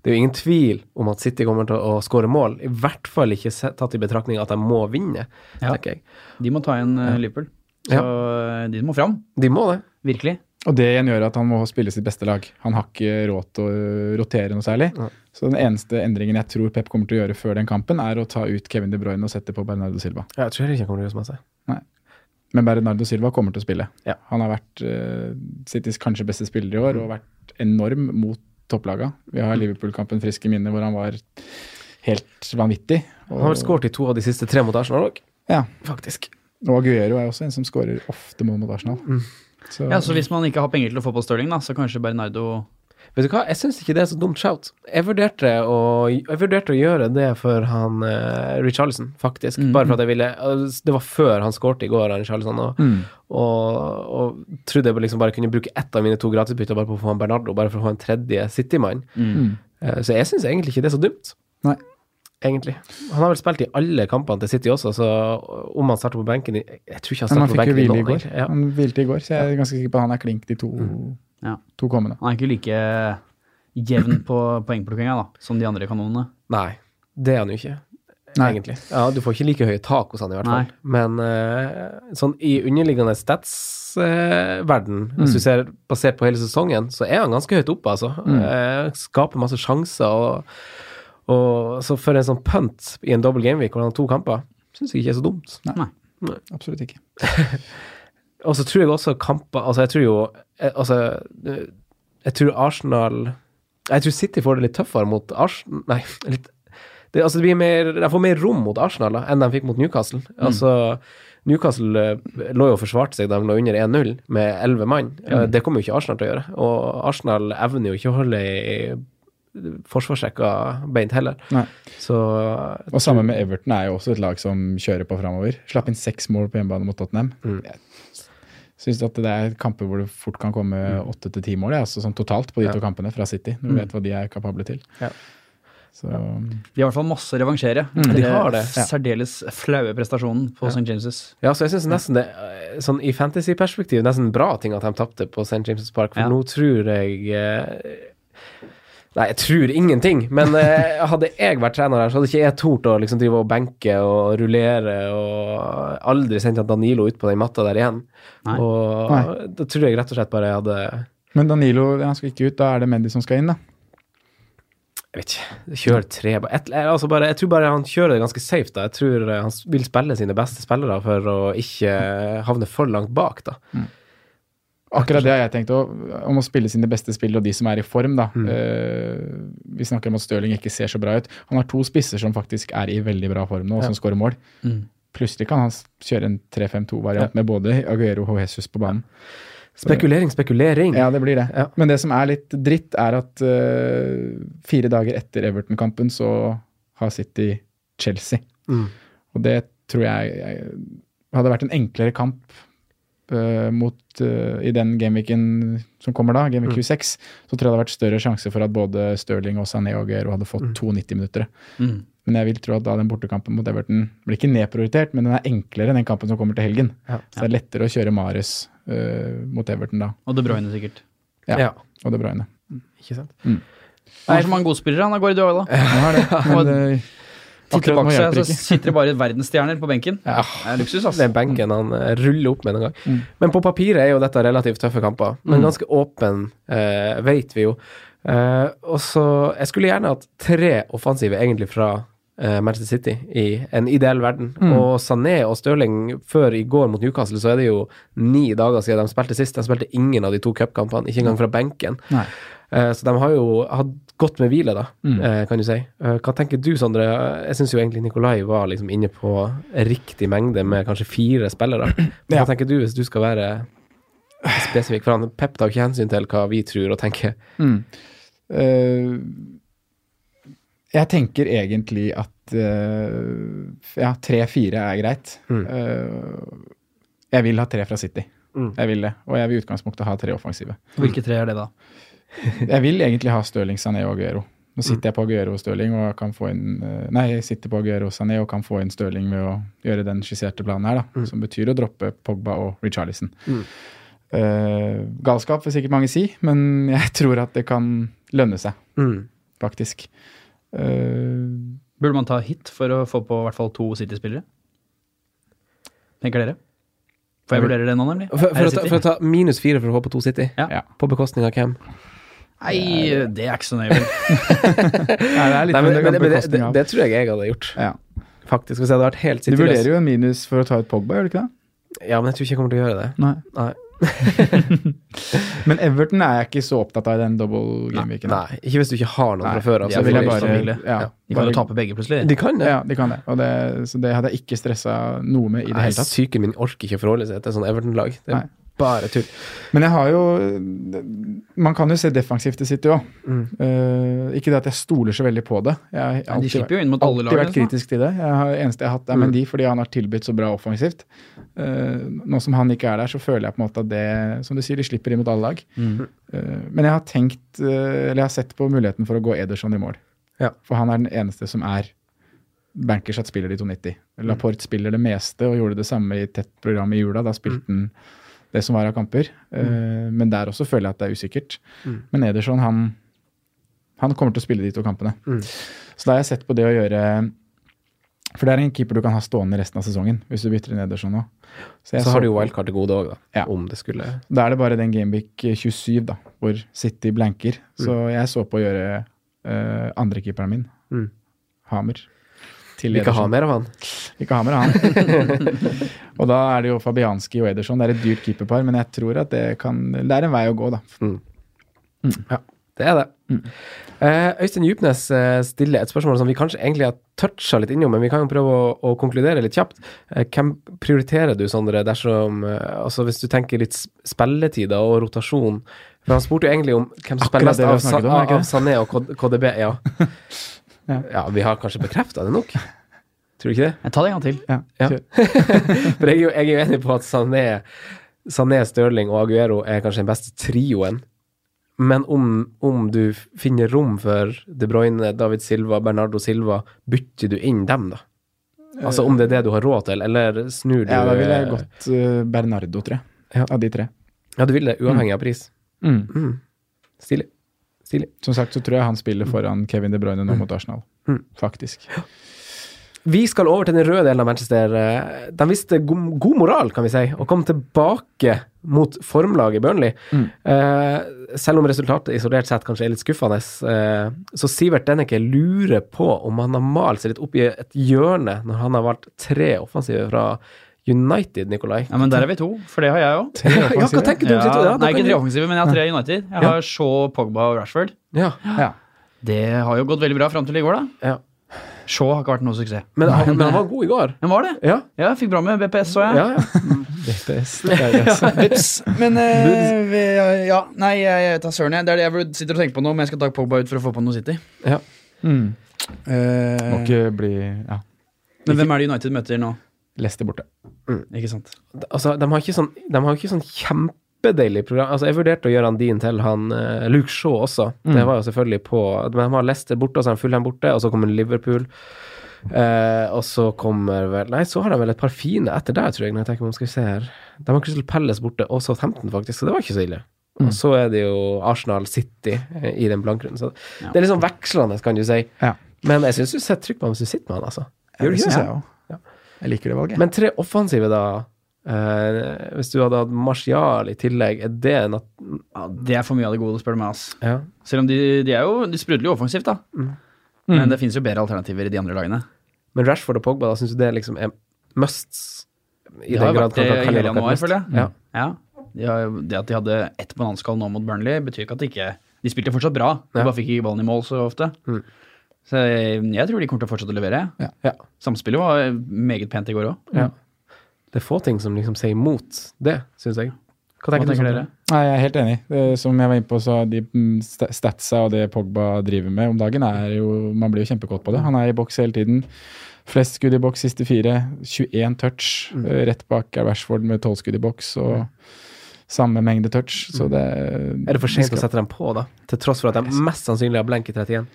det er jo ingen tvil om at City kommer til å skåre mål, i hvert fall ikke se- tatt i betraktning at de må vinne, Ja. tenker jeg. De må ta igjen eh, Liverpool. Så eh, de må fram. De må det. Virkelig. Og det igjen gjør at han må spille sitt beste lag. Han har ikke råd til å rotere noe særlig. Så den eneste endringen jeg tror Pep kommer til å gjøre før den kampen, er å ta ut Kevin De Bruyne og sette på Bernardo Silva. Jeg tror ikke han kommer til å gjøre så masse. Men Bernardo Silva kommer til å spille. Ja. Han har vært eh, Citys kanskje beste spiller i år Mm. og vært enorm mot topplaga. Vi har Liverpool-kampen frisk i minne hvor han var helt vanvittig. Han har vel skåret i to av de siste tre mot Arsenal òg, Ja. faktisk. Mm. Og Aguero er også en som skårer ofte mål mot Arsenal. Så, Ja, Så hvis man ikke har penger til å få på Stirling, da, så kanskje Bernardo Vet du hva, jeg syns ikke det er så dumt shout. Jeg vurderte å, jeg vurderte å gjøre det for han eh, Richarlison, faktisk. Bare for at jeg ville altså, Det var før han skårte i går, han Richarlison, og, og, og trodde jeg liksom bare kunne bruke ett av mine to gratisbytter bare på å få han Bernardo, bare for å få en tredje City-mann. Eh, så jeg syns egentlig ikke det er så dumt, Mm. Nei. egentlig. Han har vel spilt i alle kampene til City også, så om han starter på benken i Jeg tror ikke han Men han starter på benken i fikk jo hvile i noen, går. egentlig. Ja. Mm. Han hvilte i går, så jeg er ganske sikker på at han er klink de to, Ja. to kommende. Han er ikke like jevn på poengplukkinga da, som de andre kanonene. Nei, det er han jo ikke. Nei. Egentlig. Ja, du får ikke like høye tak hos han i hvert fall. Nei. Men eh, sånn i underliggende stats-verden, hvis du ser basert på hele sesongen, så er han ganske høyt oppe, altså. Eh, skaper masse sjanser. Og, og så for en sånn punt i en double gameweek hvor han har to kamper, syns jeg ikke er så dumt. Absolutt ikke. Og så tror jeg også kamper Altså, jeg tror jo eh, Altså, eh, jeg tror Arsenal Jeg tror City får det litt tøffere mot Arsenal Nei, litt det, altså det blir mer, De får mer rom mot Arsenal da, enn de fikk mot Newcastle. Altså, Newcastle eh, lå jo og forsvarte seg da de lå under 1-0 med 11 mann. Eh, Det kommer jo ikke Arsenal til å gjøre. Og Arsenal evner jo ikke å holde i forsvarsrekka beint heller. Nei. Så Og sammen med Everton er jo også et lag som kjører på framover. Slapp inn seks mål på hjemmebane mot Tottenham. Jeg syns at det er kamper hvor det fort kan komme åtte til ti mål, ja, altså sånn totalt på de to kampene fra City. Du vet hva de er kapable til. Ja. Så De har i hvert fall masse å revansjere. etter Mm, de har det. Særdeles flaue prestasjonen på St. James'. Ja, så jeg syns nesten det eh, Sånn i fantasy-perspektiv, nesten bra ting at de tapte på St. James' Park, for Ja. nå tror jeg eh, Nei, jeg tror ingenting, men eh, hadde jeg vært trener her, så hadde ikke jeg tort å liksom drive og benke og rullere og aldri sendt han Danilo ut på den matta der igjen. Nei. Og Nei. da tror jeg rett og slett bare jeg hadde Men Danilo han skal ikke ut, da er det Mendy som skal inn, da. Jeg vet ikke. Kjør tre ba- et, eller altså bare, Jeg tror bare han kjører det ganske safe, da. Jeg tror eh, han s- vil spille sine beste spillere for å ikke havne for langt bak, da. Akkurat det har jeg tenkt òg, om å spille sine beste spill og de som er i form. da. Eh, vi snakker om at Stirling ikke ser så bra ut. Han har to spisser som faktisk er i veldig bra form nå, og som skårer mål. Mm. Plutselig kan han s- kjøre en 3-5-2-variant med både Aguero og Jesus på banen. Spekulering, spekulering. Ja, det blir det. Men det som er litt dritt, er at eh, fire dager etter Everton-kampen så har City Chelsea. Mm. Og det tror jeg, jeg hadde vært en enklere kamp eh, mot eh, i den gameweeken som kommer da, gameweek 26, så tror jeg det hadde vært større sjanse for at både Stirling og Sané og Aguero hadde fått to 90-minuttere. Mm. Men jeg vil tro at da den bortekampen mot Everton blir ikke nedprioritert, men den er enklere enn den kampen som kommer til helgen. Ja. Så det er lettere å kjøre Mares eh, mot Everton da. Og De Bruyne sikkert. Ja. Ja. Og De Bruyne. Ikke sant? Han har så mange godspillere, han av Guardiola. Han har det, men eh, det, Eh, Titter akkurat nå bak seg, hjelper så det ikke. sitter det bare verdensstjerner på benken. Ja. Det er luksus, ass. Den benken han eh, ruller opp med en gang. Mm. Men på papiret er jo dette relativt tøffe kamper. Men ganske åpen, eh, vet vi jo. Eh, og så Jeg skulle gjerne hatt tre offensive egentlig fra eh, Manchester City i en ideell verden. Mm. Og Sané og Stirling før i går mot Newcastle, så er det jo ni dager siden de spilte sist. De spilte ingen av de to cupkampene, ikke Mm. engang fra benken. Nei. Eh, Så de har jo hatt godt med hvile, da, Mm. eh, kan du si. Eh, Hva tenker du, Sondre? Jeg syns jo egentlig Nikolai var liksom inne på riktig mengde med kanskje fire spillere. Men Ja. hva tenker du hvis du skal være spesifikk? For han Pep tar jo ikke hensyn til hva vi tror og tenker. Eh, jeg tenker egentlig at eh, ja, tre-fire er greit. Eh, jeg vil ha tre fra City. Jeg vil det. Og jeg vil i utgangspunktet ha tre offensive. Hvilke tre er det, da? Jeg vil egentlig ha Stirling, Sané og Aguero. Nå sitter jeg på Aguero og Stirling og kan få inn eh, Nei, jeg sitter på Aguero og Sané og kan få inn Stirling ved å gjøre den skisserte planen her, da. Som betyr å droppe Pogba og Richarlison. Eh, galskap vil sikkert mange si, men jeg tror at det kan lønne seg, faktisk. Eh, Burde man ta hit for å få på i hvert fall to City-spillere? Tenker dere? Får jeg vurdere det nå, nemlig? For, Er for, å, det ta, City? for å ta minus fire for å håpe på to City, Ja. ja. på bekostning av hvem? Nei, det er ikke så nøye. vel. Nei, det er litt Nei, men, under men, men det, det, bekostning av- det tror jeg jeg hadde gjort, ja. faktisk. Hvis jeg hadde vært helt Du City-løs. vurderer jo en minus for å ta ut Pogba, gjør du ikke det? Ja, men jeg tror ikke jeg kommer til å gjøre det. Nei. Nei. Men Everton er jeg ikke så opptatt av i den double game-weeken. Nei, ikke hvis du ikke har noen fra før av. så så vil jeg blir bare, det ikke ja, Ja. De kan bare- jo tape begge, sånn. plutselig. De kan det. Ja, de kan det. Og det. Så det hadde jeg ikke stressa noe med i det Nei, hele tatt. Psyken min orker ikke å forholde seg til sånn Everton-lag. Det er Nei. bare tull. Men jeg har jo Man kan jo se defensivt til City òg. ikke det at jeg stoler så veldig på det. Jeg har Nei, de alltid, slipper jo inn mot alle alltid vært lagene, altså. Mm. så. kritisk til det. Jeg har, eneste jeg har hatt, er Mendy, fordi han har tilbudt så bra offensivt. Eh, nå som han ikke er der, så føler jeg på en måte at det Som du sier, de slipper inn mot alle lag. Mm. Eh, men jeg har tenkt eh, Eller jeg har sett på muligheten for å gå Ederson i mål. Ja. For han er den eneste som er Bankershot spiller de 2,90. Mm. Laporte spiller det meste og gjorde det samme i tett program i jula. Da Mm. spilte han det som var av kamper. Mm. Eh, Men der også føler jeg at det er usikkert. Men Ederson, han, han kommer til å spille de to kampene. Mm. Så da har jeg sett på det å gjøre For det er en keeper du kan ha stående resten av sesongen hvis du bytter inn Ederson nå. Så jeg Så har du så- jo wildcard til gode òg, da. Ja. Om det skulle da er det bare den Gameweek 27 da, hvor City blanker. Så jeg så på å gjøre uh, andrekeeperen min, Mm. Hamer. Til Vi kan ha Ederson. mer av han. Ikke Hamer, han. og da er det jo Fabianski og Ederson. Det er et dyrt keeperpar, men jeg tror at det kan Det er en vei å gå, da. Det er det. Mm. Eh, Øystein Djupnes eh, stiller et spørsmål som vi kanskje egentlig har toucha litt innom, men vi kan jo prøve å, å konkludere litt kjapt. Eh, hvem prioriterer du, Sondre, dersom eh, Altså hvis du tenker litt s- spilletider og rotasjon? For han spurte jo egentlig om hvem som spiller Akkurat mest det vi har av, Sa- snakket om, er det ikke av, det? Sané og K- KDB. Ja. Ja. ja, vi har kanskje bekrefta det nok? Tror du ikke det? Jeg tar det en gang til. Ja, Ja. kjør. For jeg er jo, jeg er jo enig på at Sané, Sané, Stirling og Aguero er kanskje den beste trioen. Men om, om du finner rom for De Bruyne, David Silva, Bernardo Silva, bytter du inn dem, da? Altså om det er det du har råd til, eller snur du ja da ville jeg gått eh, Bernardo, tror jeg. Ja. Av de tre. Ja, du vil det, uavhengig av pris. Mm. Mm. Stilig. Stilig. Mm. Som sagt så tror jeg han spiller foran Kevin De Bruyne nå mot Arsenal. Faktisk. Vi skal over til den røde delen av Manchester. Eh, De viste god, god moral, kan vi si, og kom tilbake mot formlaget Burnley. Eh, selv om resultatet isolert sett kanskje er litt skuffende, eh, så Sivert Denneke lurer på om han har malt seg litt opp i et hjørne når han har valgt tre offensive fra United, Nikolai. Ja, men der er vi to, for det har jeg òg. Ja, hva tenker du om situ- ja, da Nei, kan ikke du- tre offensive, men jeg har tre United. Jeg har Shaw, Pogba og Rashford. Ja. Ja. Det har jo gått veldig bra fram til i går, da. Ja. Shaw har ikke vært noe suksess. Men, han, men han var god i går. Men var det? Ja. Ja, jeg fikk bra med BPS, så jeg. ja, ja. Vips. Men eh, vi- ja, Nei, jeg jeg vet da søren. jeg. Det er det jeg vurd- sitter og tenker på nå, men jeg skal ta Pogba ut for å få på noe City. Mm. Må Eh, ikke bli Ja, men hvem er det United møter nå? Leicester borte. Ikke sant? Altså, de har ikke sånn, de har ikke sånn kjempedeilig program. Altså, jeg vurderte å gjøre han din til han eh, Luke Shaw også. Mm. Det var jo selvfølgelig på Men de har Leicester borte, og så har de Fulham borte, og så kommer Liverpool. Eh, og så kommer vel Nei, så har de vel et par fine etter der, tror jeg. Når jeg tenker meg om, skal vi se her. De har Crystal Palace borte, og Southampton, faktisk, så det var ikke så ille. Mm. Og så er det jo Arsenal City eh, i den blankrunden. Så det er litt sånn vekslende, kan du si. Ja. Men jeg syns du setter trykk på ham hvis du sitter med han, altså. Ja, Gjør du det ikke syns det? jeg òg. Jeg liker det valget. Men tre offensive, da. eh, hvis du hadde hatt Martial i tillegg, er det en at... Ja, det er for mye av det gode, spør du meg. ass. Ja. Selv om de, de er jo De sprudler jo offensivt, da. Men det finnes jo bedre alternativer i de andre lagene. Men Rashford og Pogba, da syns du det liksom er musts? I Det har den jo grad vært det kanskje han i kaller hele det et januar, must. føler jeg. Ja. Ja. De har, jo- det at de hadde ett bananskall nå mot Burnley, betyr ikke at de ikke De spilte fortsatt bra, de Ja. bare fikk ikke ballen i mål så ofte. Mm. Så jeg, jeg tror de kommer til å fortsette å levere. Ja. Ja. Samspillet var eh, meget pent i går òg. Det er få ting som liksom sier imot det, syns jeg. Hva Hva tenker, tenker du? dere? Sondre? Nei, jeg er helt enig. Det- Som jeg var inne på, så er de mm, sta- statsa og det Pogba driver med om dagen, er jo Man blir jo kjempekåt på det. Han er i boks hele tiden. Flest skudd i boks siste fire. 21 touch. Mm. Eh, Rett bak er Rashford med 12 skudd i boks og samme mengde touch. Så det Mm. Er det for sent å sette dem på, da? Til tross for at de mest sannsynlig har blenk i 31?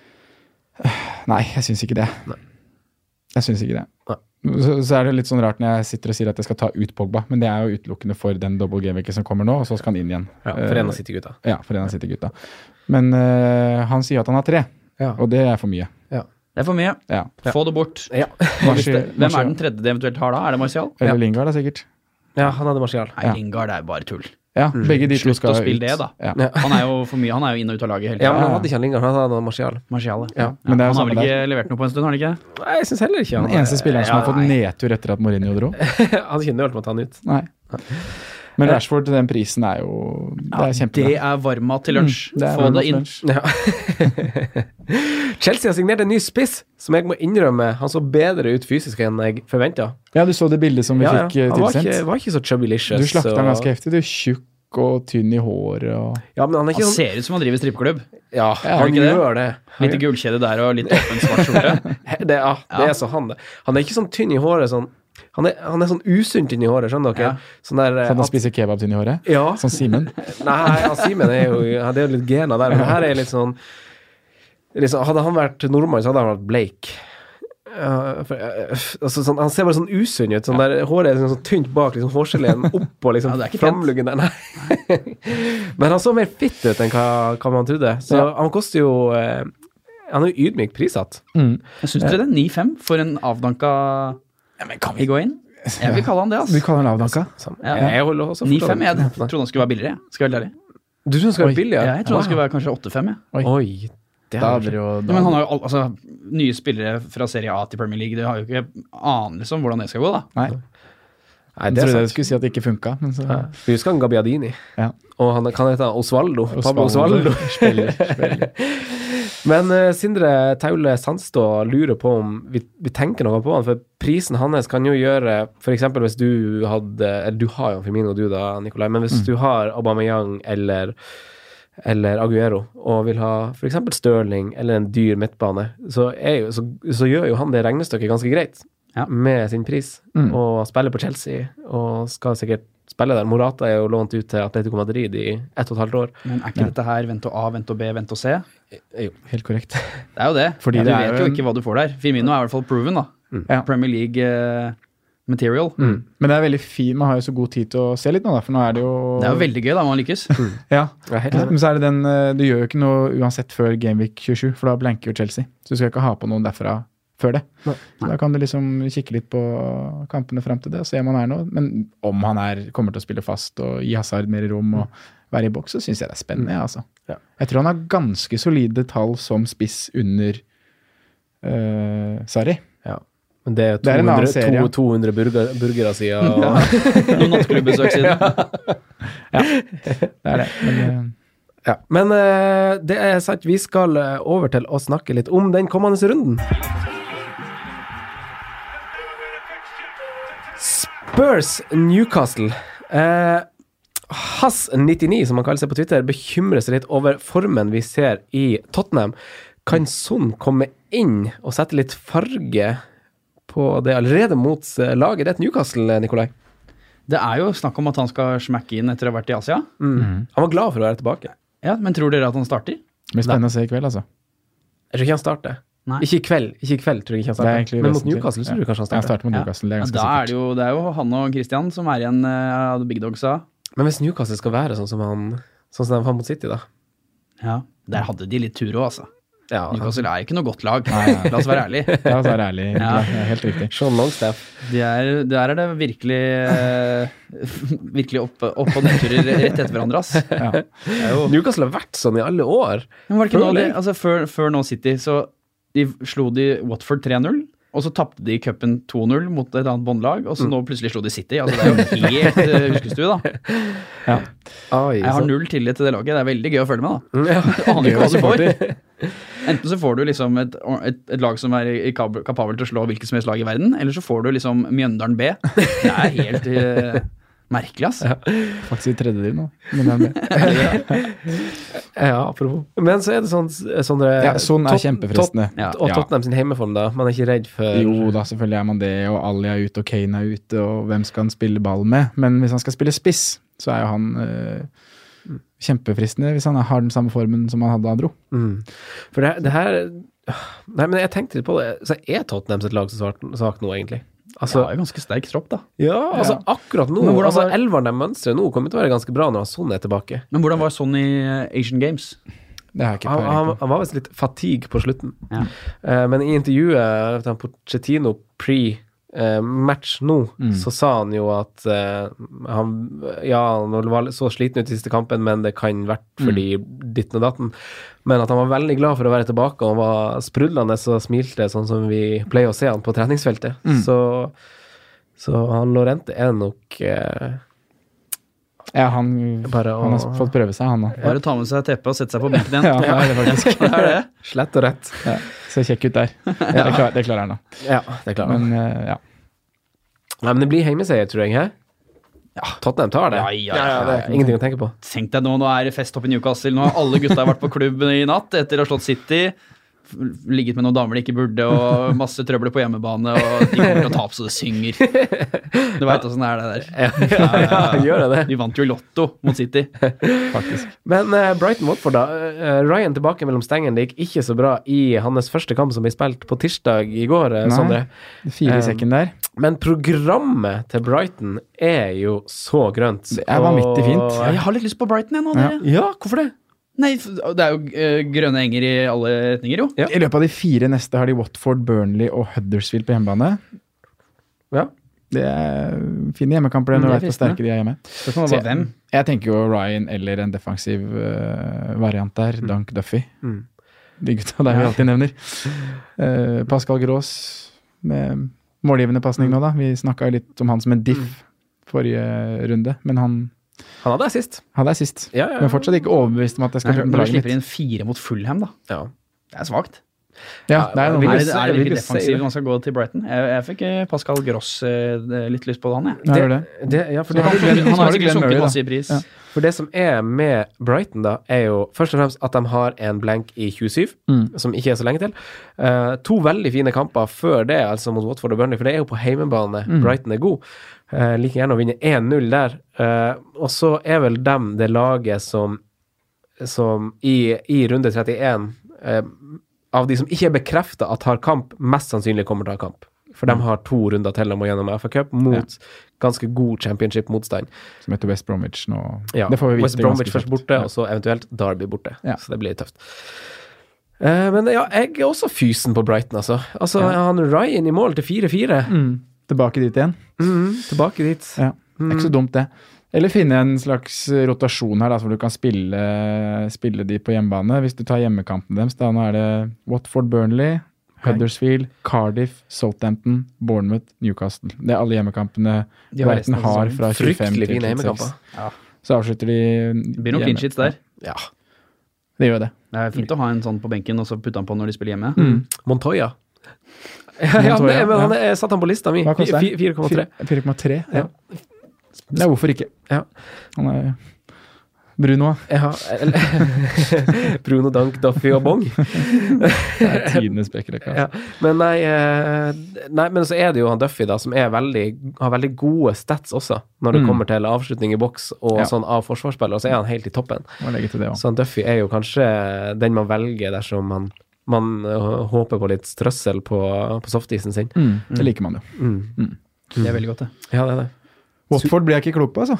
Nei, jeg syns ikke det. Jeg syns ikke det. Nei. Så, så er det litt sånn rart når jeg sitter og sier at jeg skal ta ut Pogba, men det er jo utelukkende for den double game-veken som kommer nå, og så skal han inn igjen. Eh, Ja, Eh, for en av City-gutta. Ja, for en av City-gutta. Men eh, han sier at han har tre, Ja. og det er for mye. Det er for mye. Ja. Få det bort. Ja. Martial- Hvem er Martial- den tredje de eventuelt har da? Er det Martial? Eller Lingard, da, sikkert. ja, han hadde Martial. Nei, Ja. Lingard er bare tull. Ja, Mm. Mm. begge de to Slutt å skal spille ut. det, da. Ja. Ja. Han er jo for mye, han er jo inn og ut av laget hele Ja, tiden. men han hadde ikke han Lingard, han hadde Martial. Martial, ja. Ja, men det er jo han har samme vel ikke levert noe på en stund, har han ikke? Nei, jeg syns heller ikke han Den eneste spilleren som har fått nedtur etter at Mourinho dro. Hadde ikke nølt med å ta han ut. Nei. Men Rashford til den prisen er jo Det er Det kjempebra. er varmmat til lunsj. Det er Få Ronald det inn. French. Ja. Chelsea har signert en ny spiss, som jeg må innrømme han så bedre ut fysisk enn jeg forventa. Ja, du så det bildet som vi Ja, ja. fikk eh, Han var ikke, tilsendt. var ikke så chubbylicious. Du slakta og- han ganske heftig. Du er tjukk og tynn i håret og Ja, men han er ikke Han sånn ser ut som han driver strippeklubb. Ja, han ikke det? gjør det. Litt gullkjede der og litt åpen svart skjorte. Det, ja, det er så han, det. Han er ikke sånn tynn i håret, sånn Han er, han er sånn usunn tynn i håret, skjønner dere? Ja. Sånn der eh, Sånn at han at, spiser kebab tynn i håret? Ja. Som Simen? Nei, han Simen er jo ja, Det er jo litt gena der, men her er litt sånn liksom, Hadde han vært nordmann, så hadde han vært bleik. Ja, for, eh, altså, sånn, han ser bare sånn usunn ut. Sånn der, håret er sånn, sånn tynt bak, liksom, hårgeleen oppå liksom, Ja, det er ikke pent. framluggen der. Nei. Men han så mer fitt ut enn hva, hva man trodde. Så han koster jo eh, Han er jo ydmykt prissatt. Jeg syns dere det? 9-5 for en avdanka Higuain? Jeg vil kalle han det, Du altså. kaller han lavdanka? Så, Ja. jeg holder også 9-5, jeg Nei. trodde han skulle være billigere. Skal jeg være helt ærlig. Du tror han skal være billig? Jeg trodde han skulle være kanskje 8-5, jeg. Oi. Det Da hadde vært- hadde det jo Ja, men da, han har jo al- altså, Nye spillere fra Serie A til Premier League, det har jo ikke anelse om hvordan det skal gå, da. Nei, Nei, jeg det er trodde sant. jeg skulle si at det ikke funka, men så Ja. Du husker han Gabbiadini? Ja. Og han kan hete Osvaldo. Pablo Osvaldo. Osvaldo spiller, spiller. Men eh, Sindre Taule Sandstå lurer på om vi, vi tenker noe på han, for prisen hans kan jo gjøre f.eks. hvis du hadde Eller du har jo Firmino, du da, Nikolai, men Mm. hvis du har Aubameyang eller eller Aguero, og vil ha f.eks. Stirling eller en dyr midtbane, så, er jo, så, så gjør jo han det regnestykket ganske greit Ja. med sin pris. Mm. Og spiller på Chelsea, og skal sikkert spille der. Morata er jo lånt ut til Atletico Madrid i ett og et halvt år. Men er ikke dette her vent og A, vent og B, vent og C? Helt korrekt. Det er jo det. Fordi Ja, du det er vet jo jo en- Mm. ikke hva du får der. Firmino er i hvert fall proven, da. Ja. Premier League eh, material. Men det er veldig fint, man har jo så god tid til å se litt nå, da, for nå er det jo Det er jo veldig gøy da om han lykkes. Ja. Ja, helt enig. Men så er det den eh, Du gjør jo ikke noe uansett før Gameweek 27, for da blanker jo Chelsea. Så du skal ikke ha på noen derfra før det. Da kan du liksom kikke litt på kampene fram til det og se om han er noe. Men om han er, kommer til å spille fast og gi Hazard mer rom og være i boks, så syns jeg det er spennende. Mm. jeg, Altså. Jeg tror han har ganske solide tall som spiss under uh, Sarri. Men det er jo Det er en 200, annen serie. to- 200 burger, burgere siden og Noen nattklubbesøk siden. Det er det. Men, eh, Ja, men eh, det er sant, vi skal eh, over til å snakke litt om den kommende runden. Spurs Newcastle. Eh, Hass99, som han kaller seg på Twitter, bekymrer seg litt over formen vi ser i Tottenham. Kan Son komme inn og sette litt farge på det allerede mot eh, laget? Det er et Newcastle, Nikolai. Det er jo snakk om at han skal smekke inn etter å ha vært i Asia. Mm. Han var glad for å være tilbake. Ja, Men tror dere at han starter? det blir spennende å se i kveld, altså. Jeg tror ikke han starter. Nei. Ikke i kveld, ikke i kveld tror jeg ikke han Det er starter. egentlig Men mot vesentlig. Newcastle så tror jeg kanskje han Ja, starter. starter mot Newcastle, det er Ja, ganske da er sikkert. det, jo, det er jo han og Christian som er igjen eh, av The Big Dogsa. Men hvis Newcastle skal være sånn som han Sånn som de var mot City, da Ja. Der hadde de litt tur òg, altså. ja, Newcastle er ikke noe godt lag. La oss være ærlige. Ja, så er det ærlig. Nicolai. Det er helt riktig. Sean Longstaff. De er, der er det virkelig eh, Virkelig opp, opp og nedturer rett etter hverandre, ass. Ja. Det er jo Newcastle har vært sånn i alle år. Men var det ikke nå, Føler de, jeg. altså før, før nå City, så de slo de Watford 3-0, og så tapte de cupen 2-0 mot et annet båndlag, og så nå plutselig slo de City. Altså det er jo helt eh, huskestue, da. Oi, Jeg har sånn. null tillit til det laget. Det er veldig gøy å følge med, da. Ja. Du aner ikke hva du får. Enten så får du liksom et, et, et lag som er i- i kab- kapabel til å slå hvilket som helst lag i verden, eller så får du liksom Mjøndalen B. Det er helt eh, merkelig, ass. Faktisk i tredje div nå. Men det er det. ja, apropos. Men så er det sånn Sondre Ja, sånn er kjempefristende. Ja. Og Tottenham sin hjemmeform, da. Man er ikke redd for Jo da, selvfølgelig er man det, og Ali er ute, og Kane er ute, og hvem skal han spille ball med? Men hvis han skal spille spiss, så er jo han eh, kjempefristende hvis han har den samme formen som han hadde da han dro. Mm. For det, det her Nei, men jeg tenkte litt på det. Så er Tottenham sitt lag så svart- svakt nå, egentlig? Det Altså, er jo ganske sterk tropp, da. ja, altså akkurat nå. Men hvordan Altså, var- Elveren de mønstrer nå, kommer til å være ganske bra når han sånn er tilbake. Men hvordan var sånn i eh, Asian Games? Det har jeg ikke Han, han, peiling på. han var visst litt fatigue på slutten. Ja. Eh, men i intervjuet til Porcettino pre-match eh, nå, så sa han jo at eh, han Ja, han var så sliten ut i siste kampen, men det kan vært fordi ditten og datten. Men at han var veldig glad for å være tilbake, og han var sprudlende og smilte, sånn som vi pleier å se han på treningsfeltet. Så, så han Lorente er nok eh, Ja, han, Bare å- han har fått prøve seg, han nå. Bare ta med seg teppet og sette seg på benken igjen. Ja, det er det faktisk. Det er det. slett og rett. Ja, ser kjekk ut der. Ja, det, klarer, det klarer han, da. Ja, det klarer han. Men eh, ja. Nei, men det blir heimeseier, tror jeg. Hæ? Tottenham tar det. Ja, ja, ja. det er ingenting å tenke på. Tenk deg nå, nå er det fest oppe i Newcastle. Nå har alle gutta vært på klubb i natt etter å ha slått City. F- Ligget med noen damer de ikke burde, og masse trøbbel på hjemmebane. Og de kommer til å tape så det synger. Du veit åssen det er, det Ja, der. Ja, ja, ja. gjør det det? De vant jo Lotto mot City. Men eh, Brighton-Watford, da. Eh, Ryan tilbake mellom stengene. Det gikk ikke så bra i hans første kamp som ble spilt på tirsdag i går, eh, Nei. Sondre. Fire Eh, i sekken der. Men programmet til Brighton er jo så grønt. Det er vanvittig fint. Og- Ja, jeg har litt lyst på Brighton, jeg nå, dere. Ja, hvorfor det? Nei, f- det er jo eh, grønne enger i alle retninger, jo. Ja. I løpet av de fire neste har de Watford, Burnley og Huddersfield på hjemmebane. Ja. Det er fine hjemmekamper det, Mm, når du det er vet hvor fristende. sterke de er hjemme. Spørsmålet Så var hvem. jeg, jeg tenker jo Ryan eller en defensiv eh, variant der. Dunk Duffy. Mm. De gutta der vi alltid nevner. Eh, Pascal Grås med målgivende pasning nå, da. Vi snakka litt om han som en Mm. diff forrige runde, men han Han hadde assist. hadde jeg sist. Ja, ja. Men fortsatt ikke overbevist om at jeg skal Nei, bruke Når du laget slipper mitt. inn fire mot Fulham, da. Ja. Det er svakt. Ja, det er noe Er med- det, er det Jeg vil virkelig jo si det. defensivt man skal gå til Brighton? Jeg, jeg fikk eh, Pascal Gross eh, litt lyst på han, jeg. Ja, gjør det. det, ja, for det, Han har Han har jo sikkert Glenn Murray, sunket da. masse i pris. Ja. For det som er med Brighton, da, er jo først og fremst at de har en blank i 27, som ikke er så lenge til. Eh, to veldig fine kamper før det, altså mot Watford og Burnley, for det er jo på heimebane Brighton er god. Eh, like gjerne å vinne 1-0 der. Eh, og så er vel dem det laget som, som i, i runde 31 eh, av de som ikke er bekrefta at har kamp, mest sannsynlig kommer til å ha kamp. For de har to runder til de må gjennom FA Cup mot ganske god championship-motstand. Som heter West Bromwich nå. Ja, Det får vi vite West Bromwich ganske først altså. fort. borte, Ja. og så eventuelt Derby borte. Ja. Så det blir tøft. Eh, men ja, jeg er også fysen på Brighton, altså. Altså, Han Ryan i mål til 4-4. Mm. Tilbake dit igjen. tilbake dit. Ja. Det er ikke så dumt, det. Eller finne en slags rotasjon her, da, så du kan spille, spille de på hjemmebane. Hvis du tar hjemmekampene deres, da nå er det Watford, Burnley, Huddersfield, Cardiff, Southampton, Bournemouth, Newcastle. Det er alle hjemmekampene De har Brighton resten av har fra 25 Fryktelig til fine 26. hjemmekamper. Så avslutter de Det blir noen clean sheets der. Ja. Det gjør det. Det er fint å ha en sånn på benken og så putte han på når de spiller Mm. hjemme. Montoya. ja, han, Montoya, er- men ja. han er, satt han på lista mi. Hva koster Fi- det? fi- 4,3. 4,3. Ja. Ja. Nei, hvorfor ikke? Ja. Han er Bruno, da. Ja, eller- Bruno Dank, Duffy og Bong. Det er tidenes bekkerekke. Ja. Altså. Men nei, eh, nei, men så er det jo han Duffy, da, som er veldig, har veldig gode stats også, når det Mm. kommer til avslutning i boks og Ja. sånn av forsvarsspillere, så er han helt i toppen. Må legge til det også. Så han Duffy er jo kanskje den man velger dersom man, man eh, håper på litt strøssel på, på softisen sin. Mm, det liker man jo. Det er veldig godt, det. Ja, det er det. Watford blir jeg ikke klok på, altså.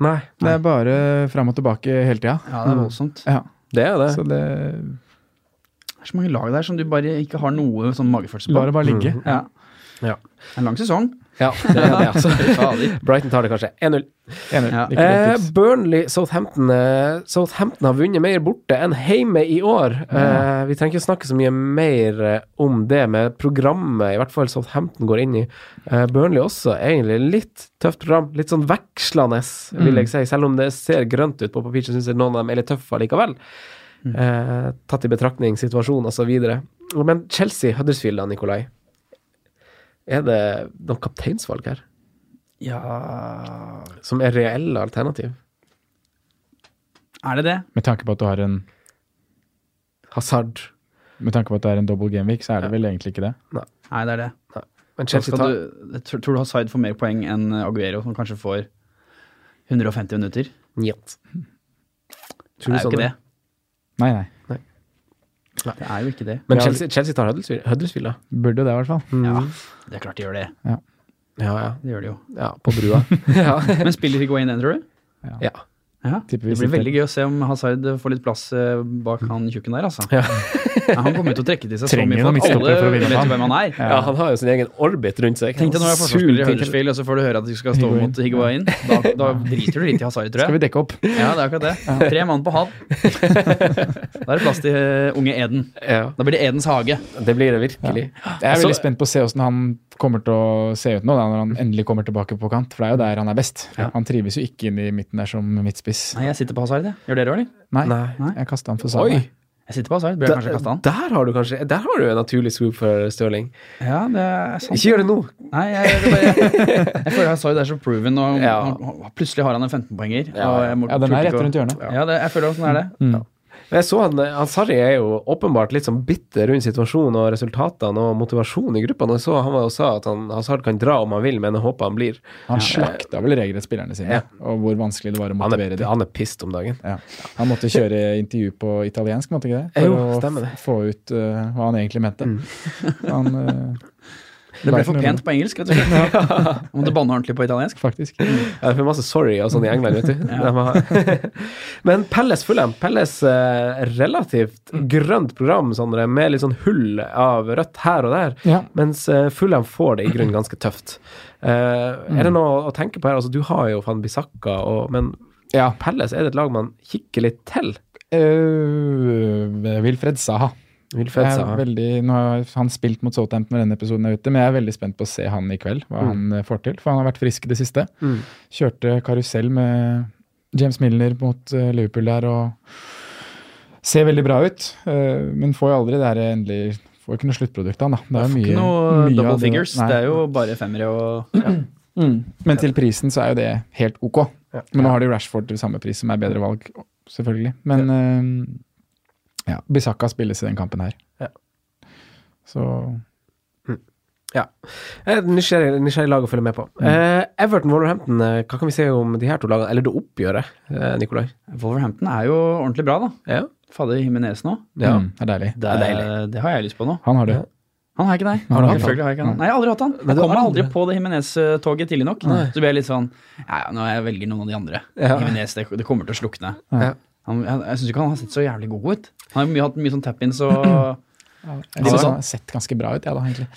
Nei, Det er bare fram og tilbake hele tida. Ja, det er voldsomt. Ja, det er jo det. så det Det er så mange lag der som du bare ikke har noe sånn magefølelse på. lar det bare ligge. Ja. Ja. Det er En lang sesong. Mm. Ja, det er det, altså. Fader. Brighton tar det kanskje 1-0. Enig. Ja. Ikke noe Eh, tips. Burnley, Southampton eh, Southampton har vunnet mer borte enn hjemme i år. Eh, vi trenger ikke å snakke så mye mer eh, om det med programmet, i hvert fall Southampton går inn i. Eh, Burnley også, egentlig litt tøft program. Litt sånn vekslende, vil Mm. jeg si. Selv om det ser grønt ut på papir, så syns jeg noen av dem er litt tøffe likevel. Mm. Eh, tatt i betraktning situasjonen osv. Men Chelsea, Huddersfield da, Nikolai. Er det noen kapteinsvalg her Ja som er reelle alternativ? Er det det? Med tanke på at du har en Hazard. med tanke på at det er en double gameweek, så er det vel egentlig ikke det. Nei, det er det. Men Da Chelsea skal tar du, jeg tror, tror du Hazard får mer poeng enn Aguero, som kanskje får 150 minutter? Njet. Det sånn? er jo ikke det. Nei, nei. Det er jo ikke det. Men Ja. Chelsea, Chelsea tar Huddersfield, Huddersfield da. Burde jo det, i hvert Mm. fall. Ja, det er klart de gjør det. Ja, ja. Det gjør de jo. ja på brua. ja. Men spiller Higuain den, tror du? ja. Ja. Tipper Det vi blir sitter. veldig gøy å se om Hazard får litt plass eh, bak han tjukken der, altså. Ja, han kommer til å trekke til seg Trenger så noen mye folk. midtstoppere for å Alle vinne vet jo han. hvem han er. Ja, han har jo sin egen orbit rundt seg. Tenk deg når du er forsvarsspiller i Huddersfield, og så får du høre at du skal stå Higuain. mot Higuain. Da, da driter du litt i Hazard, tror Skal jeg. vi dekke opp? Ja, det er akkurat det. Tre mann på han. Da er det plass til eh, unge Eden. Ja, Da blir det Edens hage. det blir det virkelig. Jeg er Altså- veldig spent på å se åssen han kommer til å se ut nå, da, når han endelig kommer tilbake på kant. For det er jo der han er best. Han trives jo ikke inn i midten der som midtspiss. Nei, jeg sitter på Hazard, jeg. Gjør dere òg, eller? Nei, Nei. jeg kasta han for Oi! Sala. Jeg sitter på Hazard. Bør jeg kanskje kaste han? Der har du kanskje Der har du en naturlig swoop for Stirling. Ja, det er sant. Ikke gjør det nå! Nei, jeg, det bare, jeg føler Hazard er så proven, og Ja. han- han- plutselig har han en 15-poenger. Ja, og jeg må- Ja, den tror er ikke rett å- rundt hjørnet. Mm. Ja, det, jeg føler at sånn er det. Jeg så han, han Sarri er jo åpenbart litt sånn bitter rundt situasjonen og resultatene og motivasjonen i gruppa. Og jeg så han var jo sa at han Hazard kan dra om han vil, men jeg håper han blir. Han slakta vel regelrett spillerne sine, og hvor vanskelig det var å Han motivere er, dem. han er pissed om dagen. Ja. Han måtte kjøre intervju på italiensk, måtte ikke det? For Jo, å stemmer det. f- få ut eh, hva han egentlig mente. Mm. Han, eh, Det ble Brighton for gjorde pent på engelsk. rett og slett. Jeg måtte banne ordentlig på italiensk. det, Faktisk. Mm. Ja, det er masse sorry og sånn i England, vet du. De har- Men Pelles Fulham, Pelles eh, relativt Mm. grønt program, Sondre, med litt sånn hull av rødt her og der. Ja. Mens eh, Fulham får det i grunnen ganske tøft. Eh, er Mm. det noe å tenke på her? Altså, du har jo Van Bissaka, og, men ja. Pelles er det et lag man kikker litt til. Eh, Wilfred Saha. Wilfred Jeg er Saha. veldig, nå har han spilt mot Southampton når denne episoden er ute, men jeg er veldig spent på å se han i kveld, Mm. hva han eh, får til. For han har vært frisk i det siste. Mm. Kjørte karusell med James Milner mot eh, Liverpool der og ser veldig bra ut. eh, Men får jo aldri det der endelig Får ikke noe sluttprodukt, han da. Det er jo mye, Ikke noe mye double av det- figures. Nei. Det er jo bare femmere og Mm. Men til prisen så er jo det helt ok. Men nå har de Rashford til samme pris, som er bedre valg, selvfølgelig. Men eh, ja, Bisakka spilles i den kampen her. Ja. Så Ja. Eh, Nysgjerrig, nysgjerrig lag å følge med på. Mm. Eh, Everton Wolverhampton, eh, hva kan vi si om de her to lagene? Eller det oppgjøret, eh, Nikolai? Wolverhampton er jo ordentlig bra, da. Ja. Fader Jimenez nå. Ja. mm, det er deilig. Det, Det er er, det har jeg lyst på nå. Han har det. Han har ikke deg. Har du hatt han? Selvfølgelig har jeg ikke han. Nei, jeg har aldri hatt han. Jeg du har kommer aldri aldri- på det Jimenez-toget tidlig nok. Så blir jeg litt sånn Ja, ja, nå jeg velger noen av de andre. Ja. Jimenez, det, det kommer til å slukne. Ja. Han, jeg jeg syns ikke han har sett så jævlig god ut. Han har jo mye, hatt mye sånn tap-ins og Jeg synes han har sett ganske bra ut, jeg da, egentlig.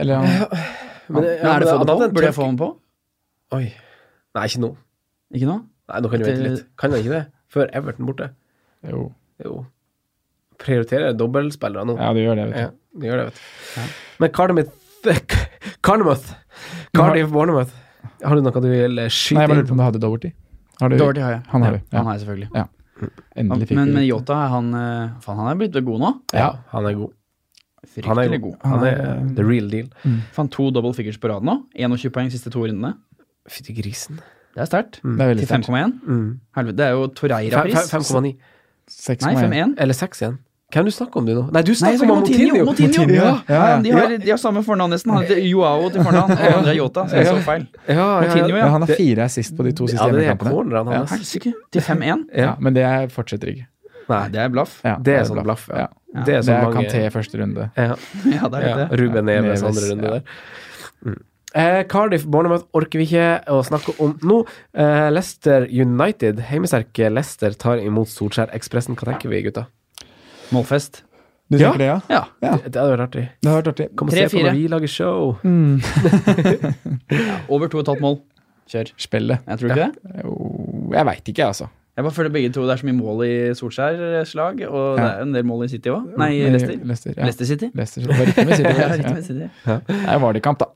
Eller han, Men, ja, Men er det men få det han på? hadde en Burde jeg tørk- få den på? Oi. Nei, ikke nå. Ikke nå? Nei, nå kan du vente Etter- litt. Kan jeg ikke det? Før Everton borte. jo. Jo. Prioriterer dobbeltspillere nå. Ja, du gjør det, vet du. Ja, det gjør det, vet du. Men Cardiff Cardiff Cardiff Bournemouth. Har du noe du vil eh, Nei, jeg skyte bare inn? lurte på om du hadde Doverty. Har du, Doherty har jeg. Han har du. Ja. Han har jeg selvfølgelig. Endelig fikk Men, du men litt. Yota, er han eh, Faen, han er blitt god nå. Ja. Han er god. Han er Fryktelig god. god. Han er eh, the real deal. Fant to double figures på rad nå. 21 poeng siste to rundene. Fytti grisen. Det er sterkt. Det er veldig Til 5,1. Mm. Helvete, det er jo Fem- Torreira-pris. fem- 5,9. sterkt. Nei, 5,1. Eller 6 igjen. Hvem du snakker om du nå? eh, Nei, du Nei, jeg snakker snakker om Motinho! Motinho. Motinho, Ja, ja. ja, Ja, ja. De, har, de har samme fornavn nesten. Han heter Joao til fornavn, og andre er Yota. Så jeg så feil. Ja, ja, Motinho, ja. Ja, han har fire assist på de to siste Ja, det er hjemmekampene. cornerne Ja. hans. Helsike. Til 5-1. Ja, men det er- fortsetter ikke. Nei, Nei, det er blaff. Ja, det er sånn blaff. Ja. Ja. Det er Det sånn er Kanté mange i første runde. ja, Ja, det er ja. litt det. Ruben Ja, Neves Neves, andre runde ja. der. Mm. Eh, Cardiff Bournemouth orker vi ikke å snakke om nå. Eh, Leicester United, heimesterke Leicester, tar imot Solskjær-ekspressen. Hva tenker vi, gutta? Målfest. Du Ja. tenker det, ja? Ja. Ja. Mm. Det hadde vært artig. Det har vært artig. Kom og Tre, se på fire. når vi lager show. Over 2,5 mål. Kjør. Spillet. Jeg tror ikke det. Jo, jeg veit ikke, jeg, altså. Jeg bare føler begge to det er så mye mål i Solskjær-slag, og det er en del mål i City òg. Nei, i Leicester. Leicester, ja. Leicester City. Leicester, Det var riktig med City, Ja, det, riktig ja. med City. Det er Vardy-kamp, da.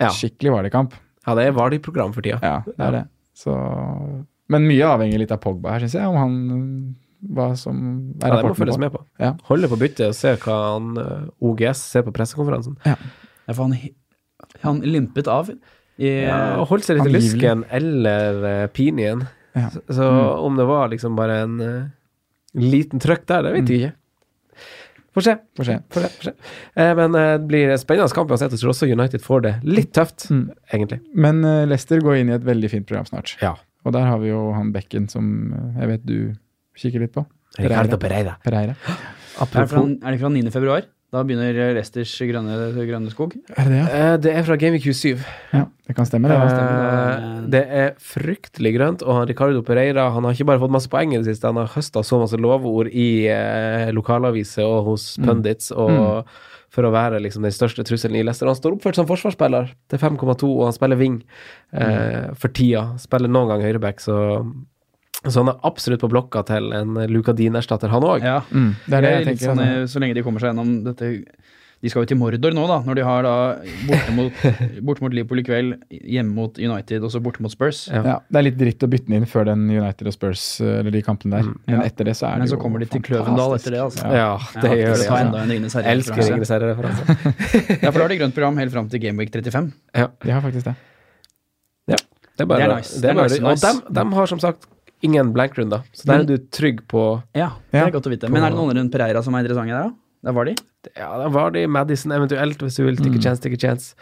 Ja. Skikkelig Vardy-kamp. Ja, det var det i program for tida. Ja, det er det. Så, men mye avhenger litt av Pogba her, syns jeg. Om han Hva som er Ja, det må rapporten følges på. med på. Ja. Holde på byttet og se hva han eh, OGS ser på pressekonferansen. Ja, for han, hi- han limpet av i Ja, og holdt seg litt i Angivelig. lysken eller eh, pinien. Ja. Mm. Så, så om det var liksom bare en eh, liten trøkk der, det vet Mm. jeg ikke. Får se. Får se. Får se, får se. Eh, men eh, det blir en spennende kamp uansett. Jeg tror også United får det litt tøft, Mm. egentlig. Men eh, Leicester går inn i et veldig fint program snart. Ja. Og der har vi jo han Bekken som eh, jeg vet du kikker litt på. Ricardo Pereira. Pereira. Pereira. Er det, fra, Apropos er det fra 9. februar? Da begynner Leicesters grønne, grønne skog. Er det det, ja? Eh, Det er fra Gamevik 27. ja? Det kan stemme, det. Eh, Ja. stemmer. Det er fryktelig grønt, og han Ricardo Pereira han har ikke bare fått masse poeng i det siste, han har høsta så masse lovord i eh, lokalaviser og hos Mm. pundits og for å være liksom, den største trusselen i Leicester. Han står oppført som forsvarsspiller til 5,2, og han spiller wing eh, Mm. for tida. Spiller noen gang høyreback, så, så han er absolutt på blokka til en Lucadin-erstatter, han òg. Ja. Mm, det er det jeg litt tenker. sånn, altså. eh, Så lenge de kommer seg gjennom dette De skal jo til Mordor nå, da. Når de har da borte mot, borte mot Liverpool i kveld, hjemme mot United og så borte mot Spurs. Ja. Ja, det er litt dritt å bytte den inn før den United og Spurs, eh, eller de kampene der. Men Mm, Ja. etter det så er Men det så jo kommer de til fantastisk. Kløvendal etter det, altså. Ja. Ja, det Ja, gjør for å det. ta enda Altså. en Ringenes Herre-referanse. Elsker Ringenes herre-referanse. Ja, for da har de grønt program helt fram til Gameweek 35. De har faktisk det. Det er bare, Det er nice. Det er bare, Det er nice, nice. Og dem, dem har som sagt ingen blank-runder, så der er Men- du trygg på Ja, det er godt å vite. Men er det noen rundt Pereira som er interessante der, da? Der var de. Ja, da var det i Madison eventuelt, hvis du vil. Take a chance, take a chance.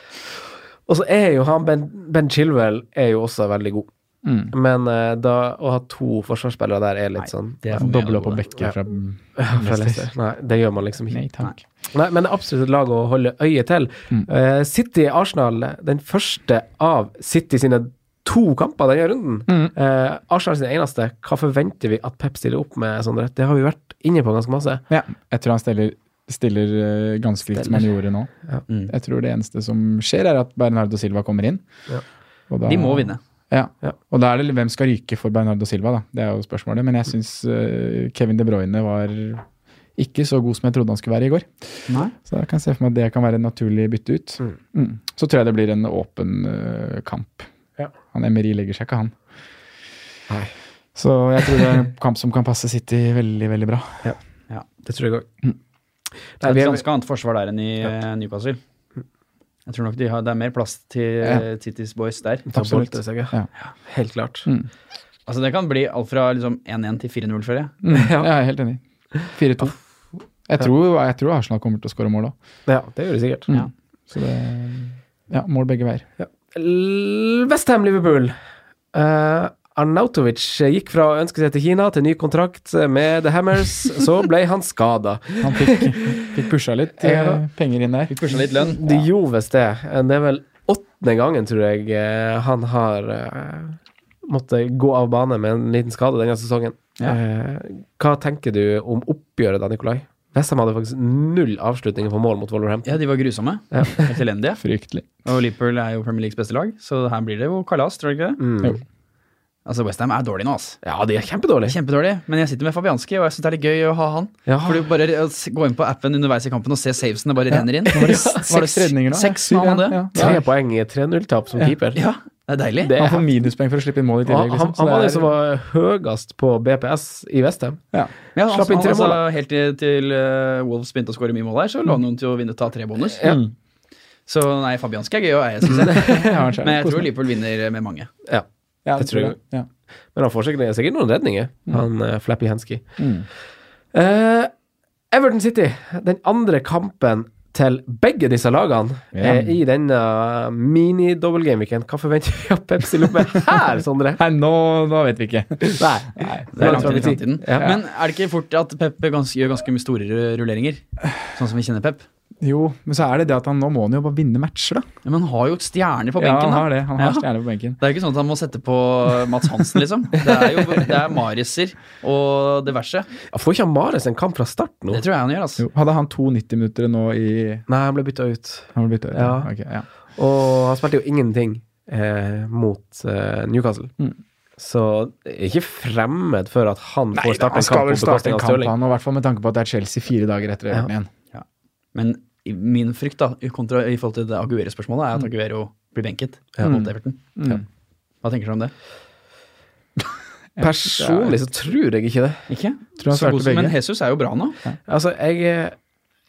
Og så er jo han Ben, ben Chilwell er jo også veldig god. Mm. Men eh, da å ha to forsvarsspillere der er litt sånn Det er for meg Dobla alvor. på Bekke Ja. fra ja, fra Leicester. Nei, det gjør man liksom Nei ikke. takk. Nei, men det er absolutt et lag å holde øye til. Mm. Eh, City Arsenal, den første av City sine to kamper denne runden. Mm. Eh, Arsenal sin eneste. Hva forventer vi at Pep stiller opp med, Sondre? Det har vi vært inne på ganske masse. Ja, jeg tror han stiller, stiller eh, ganske likt som han gjorde nå. Ja. Mm. Jeg tror det eneste som skjer, er at Bernardo Silva kommer inn. Ja. Og da- De må vinne. Ja. Ja. Og da er det hvem skal ryke for Bernardo Silva, da. Det er jo spørsmålet. Men jeg syns Kevin De Bruyne var ikke så god som jeg trodde han skulle være i går. Nei. Så da kan jeg se for meg at det kan være en naturlig bytte ut. Mm. Mm. Så tror jeg det blir en åpen eh, kamp. Ja. Han Emery legger seg ikke, han. Nei. Så jeg tror det er en kamp som kan passe City veldig, veldig bra. Det tror jeg òg. Mm. Det er et ganske annet forsvar der enn i eh, Newcastle. Jeg tror nok de har, det er mer plass til Ja. eh, City's Boys der. Absolutt. Absolutt. Ja. Mm. Helt klart. Altså Det kan bli alt fra liksom 1-1 til 4-0, føler jeg. Mm, ja. Jeg er helt enig. 4-2. Jeg, tror- jeg tror Arsenal kommer til å skåre mål òg. Ja, det gjør det sikkert. Mm. Så det Ja, mål begge veier. Westham Liverpool. Eh, Arnautovic gikk fra å ønske seg til Kina til ny kontrakt med The Hammers, så ble han skada. Han fikk, fikk pusha litt Ja. eh, penger inn der. Fikk Pusha litt lønn. De gjorde visst det. Det er vel åttende gangen, tror jeg, eh, han har eh, måttet gå av bane med en liten skade denne sesongen. Eh, Hva tenker du om oppgjøret da, Nikolai? Westham hadde faktisk null avslutninger på mål mot Wolverhampton. Ja, de var grusomme. Helt elendige. Fryktelig. Og Liverpool er jo Premier Leagues beste lag, så her blir det jo kalas, tror du ikke det? Jo. Altså, Westham er dårlig nå, altså. Mm. Ja, de er kjempedårlige. Kjempedårlig. Men jeg sitter med Fabianski, og jeg syns det er litt gøy å ha han. Ja. For du bare eh, s- gå inn på appen underveis i kampen og se savesene bare renner inn. Var det Seks redninger da. Seks, Fire, nå hadde han det. ja. Tre poeng i 3-0-tap som keeper. Ja, det er deilig. Det er- Han får minuspoeng for å slippe inn mål i Og han, tillegg. han, Liksom. Så var det den som var høyest på BPS i Westham. ja. Ja, han, Slapp inn tre han, mål, altså, Helt til, til eh, Wolves begynte å skåre mye mål her, så lå han noen til å vinne ta tre bonus. Mm. Så nei, Fabianski er gøy å eie, syns jeg. Ja, han skjønner. Men jeg Kos tror meg. Liverpool vinner med mange. Ja. Ja, det tror jeg. Ja. Men han får sikkert, sikkert noen redninger, han eh, Flappy Hensky. Mm. Eh, Everton City, den andre kampen til begge disse lagene Ja. eh, i denne mini-dobbeltgameweeken. Hva forventer vi av Pepsi Lomme her, Sondre? Nei, nå, nå vet vi ikke. Nei. Det er langt inn i fremtiden. Ja. Men er det ikke fort at Pep gans- gjør ganske mye store ru- rulleringer? Sånn som vi kjenner Pep. Jo, men så er det det at han nå må han jo bare vinne matcher, da. Ja, men han har jo stjerner på Ja, benken, han har da. det. Han har Ja. stjerne på benken. Det er jo ikke sånn at han må sette på Mats Hansen, liksom. Det er jo det er Mariser og diverse. Ja, Får ikke han Mares en kamp fra start nå? Det tror jeg han gjør, altså. Jo, hadde han to 90-minuttere nå i Nei, han ble bytta ut. Han ble bytta ut. Ja. ok, ja. Og han spilte jo ingenting eh, mot eh, Newcastle. Mm. Så det er ikke fremmed for at han får starte han en kamp skal på vel starte bekostning en av kamp, Stirling. han, og i hvert fall med tanke på at det er Chelsea fire dager etter Ja. Everton igjen. Men i min frykt da, i, kontra, i forhold til det Mm. Aguero-spørsmålet, er at Aguero blir benket mot Everton. Ja. Hva tenker dere om det? Personlig så tror jeg ikke det. Ikke? Tror han Så god svarte som- begge. Men Jesus er jo bra nå. Altså, jeg eh,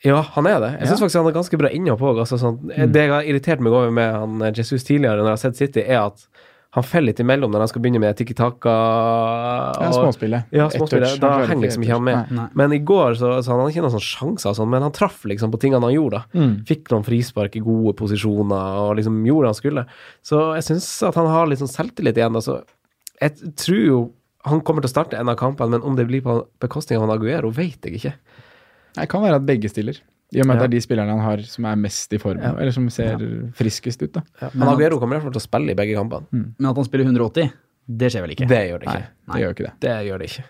Ja, han er det. Jeg syns faktisk han er ganske bra innhopp òg. Altså, sånn, Mm. Det jeg har irritert meg over med han eh, Jesus tidligere, når jeg har sett City, er at han faller litt imellom når han skal begynne med tikki-taka. Ja, og- småspillet. Ja, Ett småspillet. touch, Da han klarer henger ikke liksom ett ikke han touch. med. Men i går så, så han hadde ikke noen sånn sjanser, og sånn, men han traff liksom på tingene han gjorde. da. Mm. Fikk noen frispark i gode posisjoner og liksom gjorde det han skulle. Så jeg syns at han har litt sånn selvtillit igjen. Altså. Jeg tror jo han kommer til å starte en av kampene, men om det blir på bekostning av han Aguero, vet jeg ikke. Nei, Det kan være at begge stiller. I og med at Ja. det er de spillerne han har som er mest i form, eller som ser friskest ut. da. Men Aguero kommer i hvert fall til å spille i begge kampene. Men at han spiller 180, det skjer vel ikke? Det gjør det Nei, ikke. det gjør jo ikke det. Det gjør det ikke.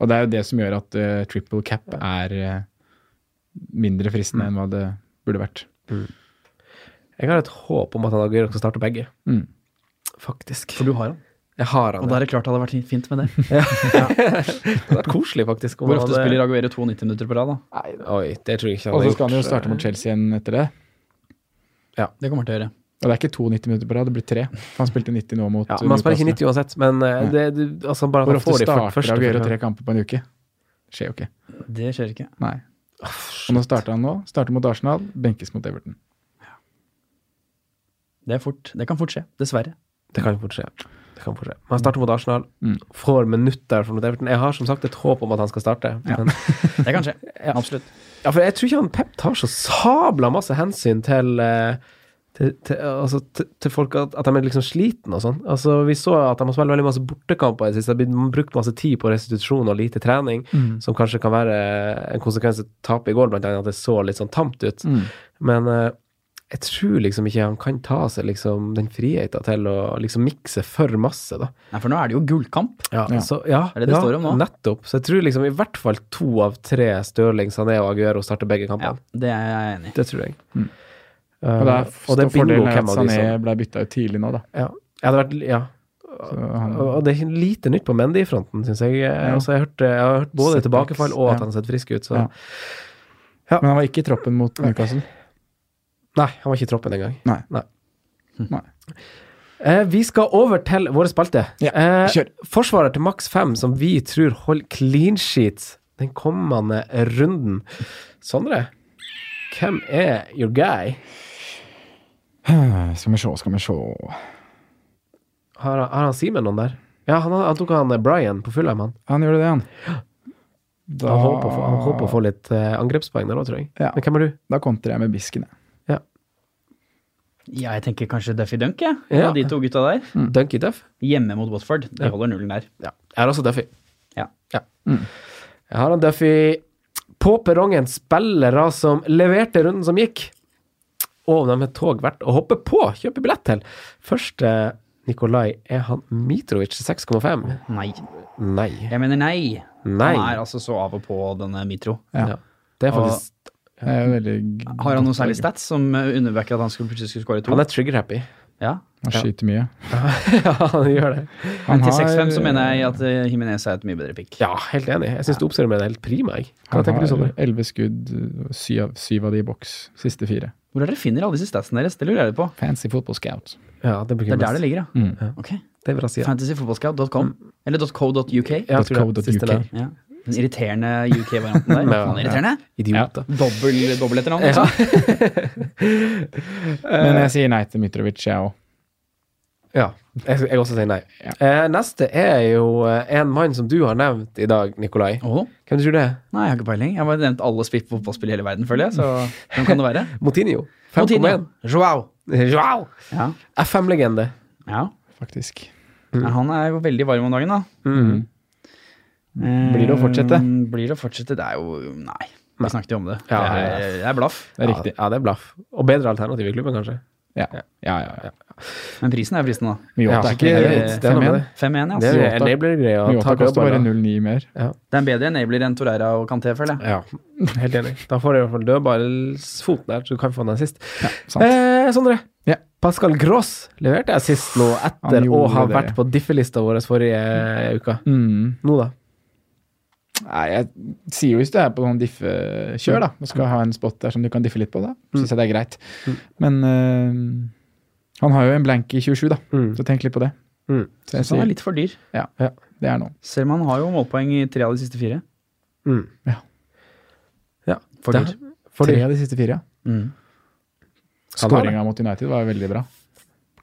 Og det er jo det som gjør at eh, triple cap er eh, mindre fristende enn hva det burde vært. Jeg har et håp om at han Aguero skal starte begge, Mm. faktisk. For du har han. Jeg har Og han. da ja. er det klart det hadde vært fint med det. Det hadde vært koselig, faktisk. om Hvor han ofte hadde- spiller Aguero 92 minutter på rad, da? Oi, det tror jeg ikke han Og har så skal han jo gjort. eh, starte mot Chelsea igjen etter det. Det kommer han til å gjøre. Og det er ikke to 90 minutter på rad, det blir tre. For han spilte 90 nå mot Ja, men han spiller ikke 90 uansett, men eh, det, du- altså bare at Mm. Hvor han får ofte de fyr- starter første Aguero første- tre kamper på en uke? Skjer jo ikke. Det skjer ikke. Nei. Og nå starter han nå. Starter mot Arsenal, benkes mot Everton. Det, er fort. det kan fort skje. Dessverre. Det kan fort skje. Det kan fort skje. Men han Mm. starter mot Arsenal, får minutter for mot Everton. Jeg har som sagt et håp om at han skal starte. Ja, men, Det kan skje. Absolutt. ja for jeg tror ikke han Pep tar så sabla masse hensyn til eh, til, til, altså, til, til folk at, at de er liksom slitne og sånn. Altså, vi så at de har spilt veldig masse bortekamper i det siste. Det har blitt brukt masse tid på restitusjon og lite trening, som kanskje kan være en konsekvens av tapet i går, blant annet at det så litt sånn tamt ut. Men eh, jeg tror liksom ikke han kan ta seg liksom den friheten til å liksom mikse for masse, da. Nei, for nå er det jo gullkamp. Ja, Så, ja, Er det det ja, står om nå? Nettopp. Så jeg tror liksom i hvert fall to av tre Stirling, Sané og Aguero starter begge kampene. Det er jeg enig i. Det tror jeg. Eh, Og det er, og det er bingo fordelen er hvem av at de Sané som ble bytta ut tidlig nå, da. ja. Jeg hadde vært, ja. Så han, Og og det er lite nytt på Mendy-fronten, syns jeg. Altså, jeg, har hørt, jeg har hørt både Setbacks, tilbakefall og at ja. han har sett frisk ut, så Ja. men han var ikke i troppen mot Newcastle. Nei, han var ikke i troppen engang. Nei. Nei. Nei. Eh, vi skal over til våre spalte. Ja, kjør. eh, forsvarer til maks fem, som vi tror holder clean sheet den kommende runden. Sondre, hvem er your guy? Skal vi se, skal vi se Har, han- har han Simen noen der? Ja, han, han tok han eh, Brian på Fulheim, han. Han gjorde det, han. Da, Han håper å få- han håper å få litt eh, angrepspoeng der òg, tror jeg. Ja. Men hvem er du? da kontrer jeg med bisken, jeg. Jeg tenker kanskje Duffy Dunk, jeg. Ja. Ja. De to gutta der. Dunky Duff? Hjemme mot Watford. De holder nullen der. Mm. Ja. Mm. Jeg har også Duffy. Ja. Jeg har han Duffy på perrongen. Spillere som leverte runden som gikk. Og om de er tog verdt å hoppe på, kjøpe billett til. Første Nikolai, er han Mitrovic 6,5? Nei. Nei. Jeg mener nei. Nei. Han er altså så av og på denne Mitro. Ja. Det er faktisk Det er jo veldig Har han noen særlige stats som eh, underbacker at han skulle plutselig skulle score to? Han er trigger happy. Ja. Han skyter mye. ja, han gjør det. Han Til har- 6-5 så mener jeg at eh, Jimenez er et mye bedre pick. Ja, helt enig. Jeg syns du oppsummerer det helt prima, jeg. Hva han tenker du, Sondre? har Elleve skudd, syv av, syv av de i boks. Siste fire. Hvor er dere finner alle disse statsene deres? Det lurer jeg litt på. Fancy football scout. Ja, det Det blir er der det ligger, ja. Mm. Ok. Det er bra sida. Fantasyfotballscout.com eller .co.uk. Mm. Ja, jeg tror det er .co.uk. siste der. Ja. Den irriterende UK-varianten der. Ja, Faen, irriterende? Idiot, da. Dobbel, dobbel etternavn, liksom. Men jeg sier nei til Mitrovic, jeg òg. Ja. Jeg, jeg også sier nei. Ja. Eh, neste er jo eh, en mann som du har nevnt i dag, Nikolai. Åh. Hvem tror du det er? Nei, jeg har ikke peiling. Jeg har bare nevnt alle spilt fotballspill i hele verden, føler jeg. Så hvem kan det være? Motinho. Coutinho. 5,1. Joao. Wow! Ja. FM-legende. ja. faktisk. Mm. Nei, Han er jo veldig varm om dagen, da. Mm, Mm. Blir det å fortsette? Eh, Blir det å fortsette? Det er jo Nei. Vi snakket jo om det. Ja, det, ja, er, det er blaff. Det er riktig. Ja, ja, det er blaff. Og bedre alternativ i klubben, kanskje. Ja, ja, ja. ja. Men prisen er fristende, da. Mjota Ja, er ikke det er- det er noe med 5-1. det. 5-1, ja. Det altså. er Jota- enabler-greia. Mjota Ta koster bare dødballer. 0,9 mer. Det er en bedre enabler enn Torreira og Kanté, føler jeg. Ja, helt enig. Da får du i hvert fall dødballsfoten der, så du kan få den sist. sant. eh, Sondre. Ja. Pascal Gross leverte jeg sist nå, Han etter gjorde å ha det. vært på diffelista vår forrige uke. Mm. Nå, da? Nei, jeg sier jo hvis du er på sånn diffe-kjør, da, og skal ha en spot der som du kan diffe litt på, da syns jeg det er greit. Men øh, han har jo en blank i 27, da, Mm. så tenk litt på det. Mm. Så jeg Så han er sier, litt for dyr. ja, Ja. det er nå. Selv om han har jo målpoeng i tre av de siste fire. Mm. Ja. ja. For det- dyrt. For Tre dyrt. av de siste fire, ja. Mm. Han var det. Skåringa mot United var jo veldig bra.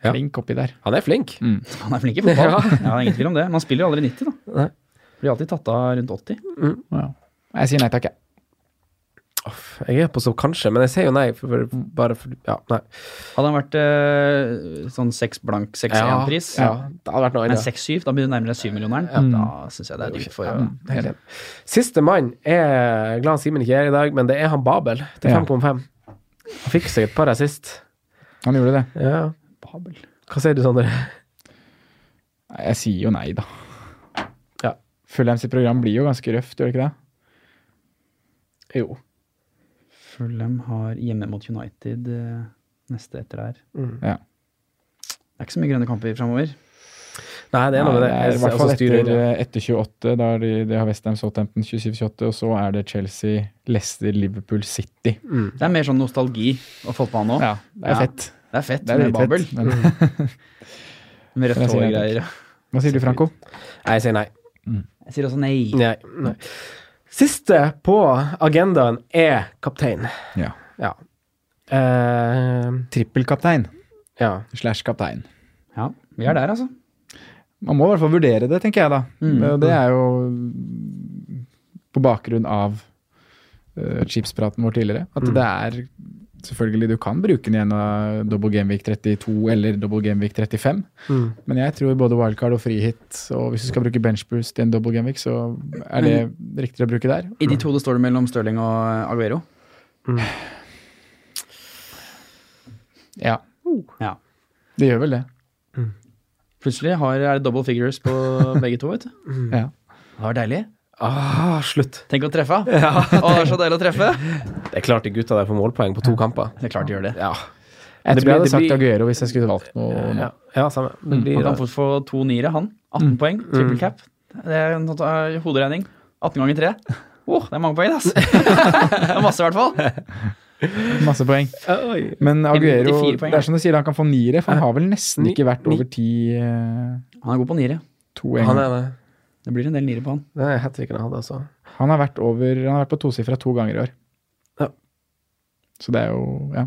Ja. Flink oppi der. Han er flink. Han er flink i fotball. Ja. det er ingen tvil om det. Men han spiller jo aldri 90, da. Nei. Blir alltid tatt av rundt 80. Ja. Jeg sier nei takk, jeg. Off, jeg er på så kanskje, men jeg sier jo nei. For, for, bare for, ja, nei. Hadde han vært eh, sånn seks blank, seks Ja, én-pris, Ja, det hadde vært noe men annet. seks-syv, da blir du nærmere syvmillionæren. Da syns jeg det er dyrt for å Helt enig. Siste mann er glad Simen ikke er i dag, men det er han Babel til Ja. 5,5. Han fikk seg et par assist. Han gjorde det. Ja. Babel. Hva sier du, Sondre? Nei, Jeg sier jo nei, da. Ja. Fulham sitt program blir jo ganske røft, gjør det ikke det? Jo. Fulham har hjemme mot United eh, neste etter der. Ja. Det er ikke så mye grønne kamper framover. Nei, det er noe med det. Nei, det er I Jeg hvert også fall styrer- etter, eh, etter 28. Da er de, de har Westham Southampton 27-28, og så er det Chelsea, Leicester, Liverpool, City. Det er mer sånn nostalgi å få på han nå. Ja, det er Ja. fett. Det er fett Det er med Babel. dritfett. Men Med rødt Jeg hår sier nei og greier. hva sier du, Franco? Nei, jeg sier nei. Jeg sier også nei. nei. Nei. Siste på agendaen er kaptein. Ja. Ja. Eh, Trippelkaptein ja. slash kaptein. Ja, vi er der, altså. Man må i hvert fall vurdere det, tenker jeg da. Mm. Og Det er jo på bakgrunn av eh, chipspraten vår tidligere. At Mm. det er Selvfølgelig, du kan bruke den igjen av double gameweek 32 eller double gameweek 35. Mm. Men jeg tror både wildcard og frihit, og hvis du skal bruke benchboost i en double gameweek, så er det riktigere å bruke der. I de to det står det mellom Stirling og eh, Aguero. Ja, Ja. det gjør vel det. Plutselig har, er det double figures på begge to, vet du. Mm. Ja. Det var deilig. Ah, slutt. Tenk å treffe. Ja, å, det er så deilig å treffe. Det er klart de gutta der får målpoeng på to kamper. Det er klart de gjør det. Ja. Jeg Det blir- tror jeg det hadde blir- sagt Aguero hvis jeg skulle valgt noe nå. Ja, ja samme. Det blir, Han kan fort få to niere, han. 18 poeng, triple cap. Det er en sånn, eh, hoderegning. 18 ganger 3. Åh, det er mange poeng, ass. det er masse, i hvert fall. Masse poeng. Oi. Men Aguero 94 poeng. det er som du sier, han kan få niere, for han har vel nesten Ni- ikke vært ni- over ti eh, Han er god på niere. to en Han gang. er det. Det blir en del niere på han. Det er Hattricken han hadde, altså. Han har vært, over, han har vært på tosifra to ganger i år. Ja. Så det er jo Ja.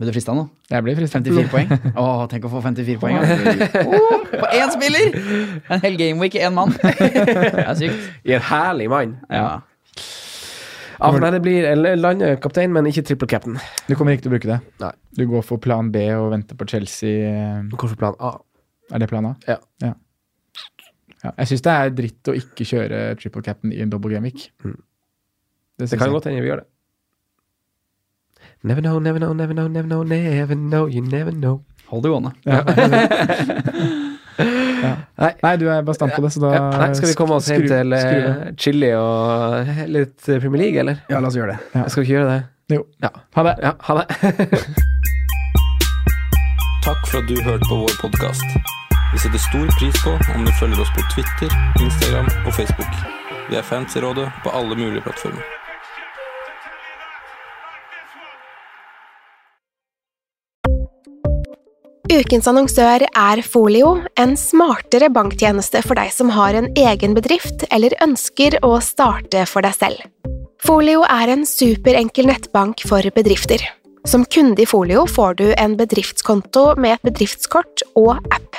Vil du friste han nå? Jeg blir fristet. 54 poeng. Åh, tenk å få 54 poeng. ass. Åh, på én spiller! En hel gameweek i én mann. Det er sykt. I en herlig mann. Ja. Ja, for nei, det blir eller landekaptein, men ikke triple captain. Du kommer ikke til å bruke det. Nei. Du går for plan B og venter på Chelsea. eh, Hvorfor plan A? Er det plan A? Ja. ja. Ja, Jeg syns det er dritt å ikke kjøre triple cap'n i en double gamic. Mm. Det kan godt hende vi gjør det. Never know, never know, never know, never know, never know, you never know. Hold det gående. Ja. Nei. du er bastant på det, så da Ja, nei, skal vi komme oss hjem skru- til eh, skru det. chili og eh, litt eh, Premier League, eller? Ja, la oss gjøre det. Ja. Skal vi ikke gjøre det? Jo. Ja. Ha det. Ja, ha det. Takk for at du hørte på vår podkast. Vi setter stor pris på om du følger oss på Twitter, Instagram og Facebook. Vi er Fantasyrådet på alle mulige plattformer. Ukens annonsør er Folio, en smartere banktjeneste for deg som har en egen bedrift eller ønsker å starte for deg selv. Folio er en superenkel nettbank for bedrifter. Som kunde i Folio får du en bedriftskonto med et bedriftskort og app.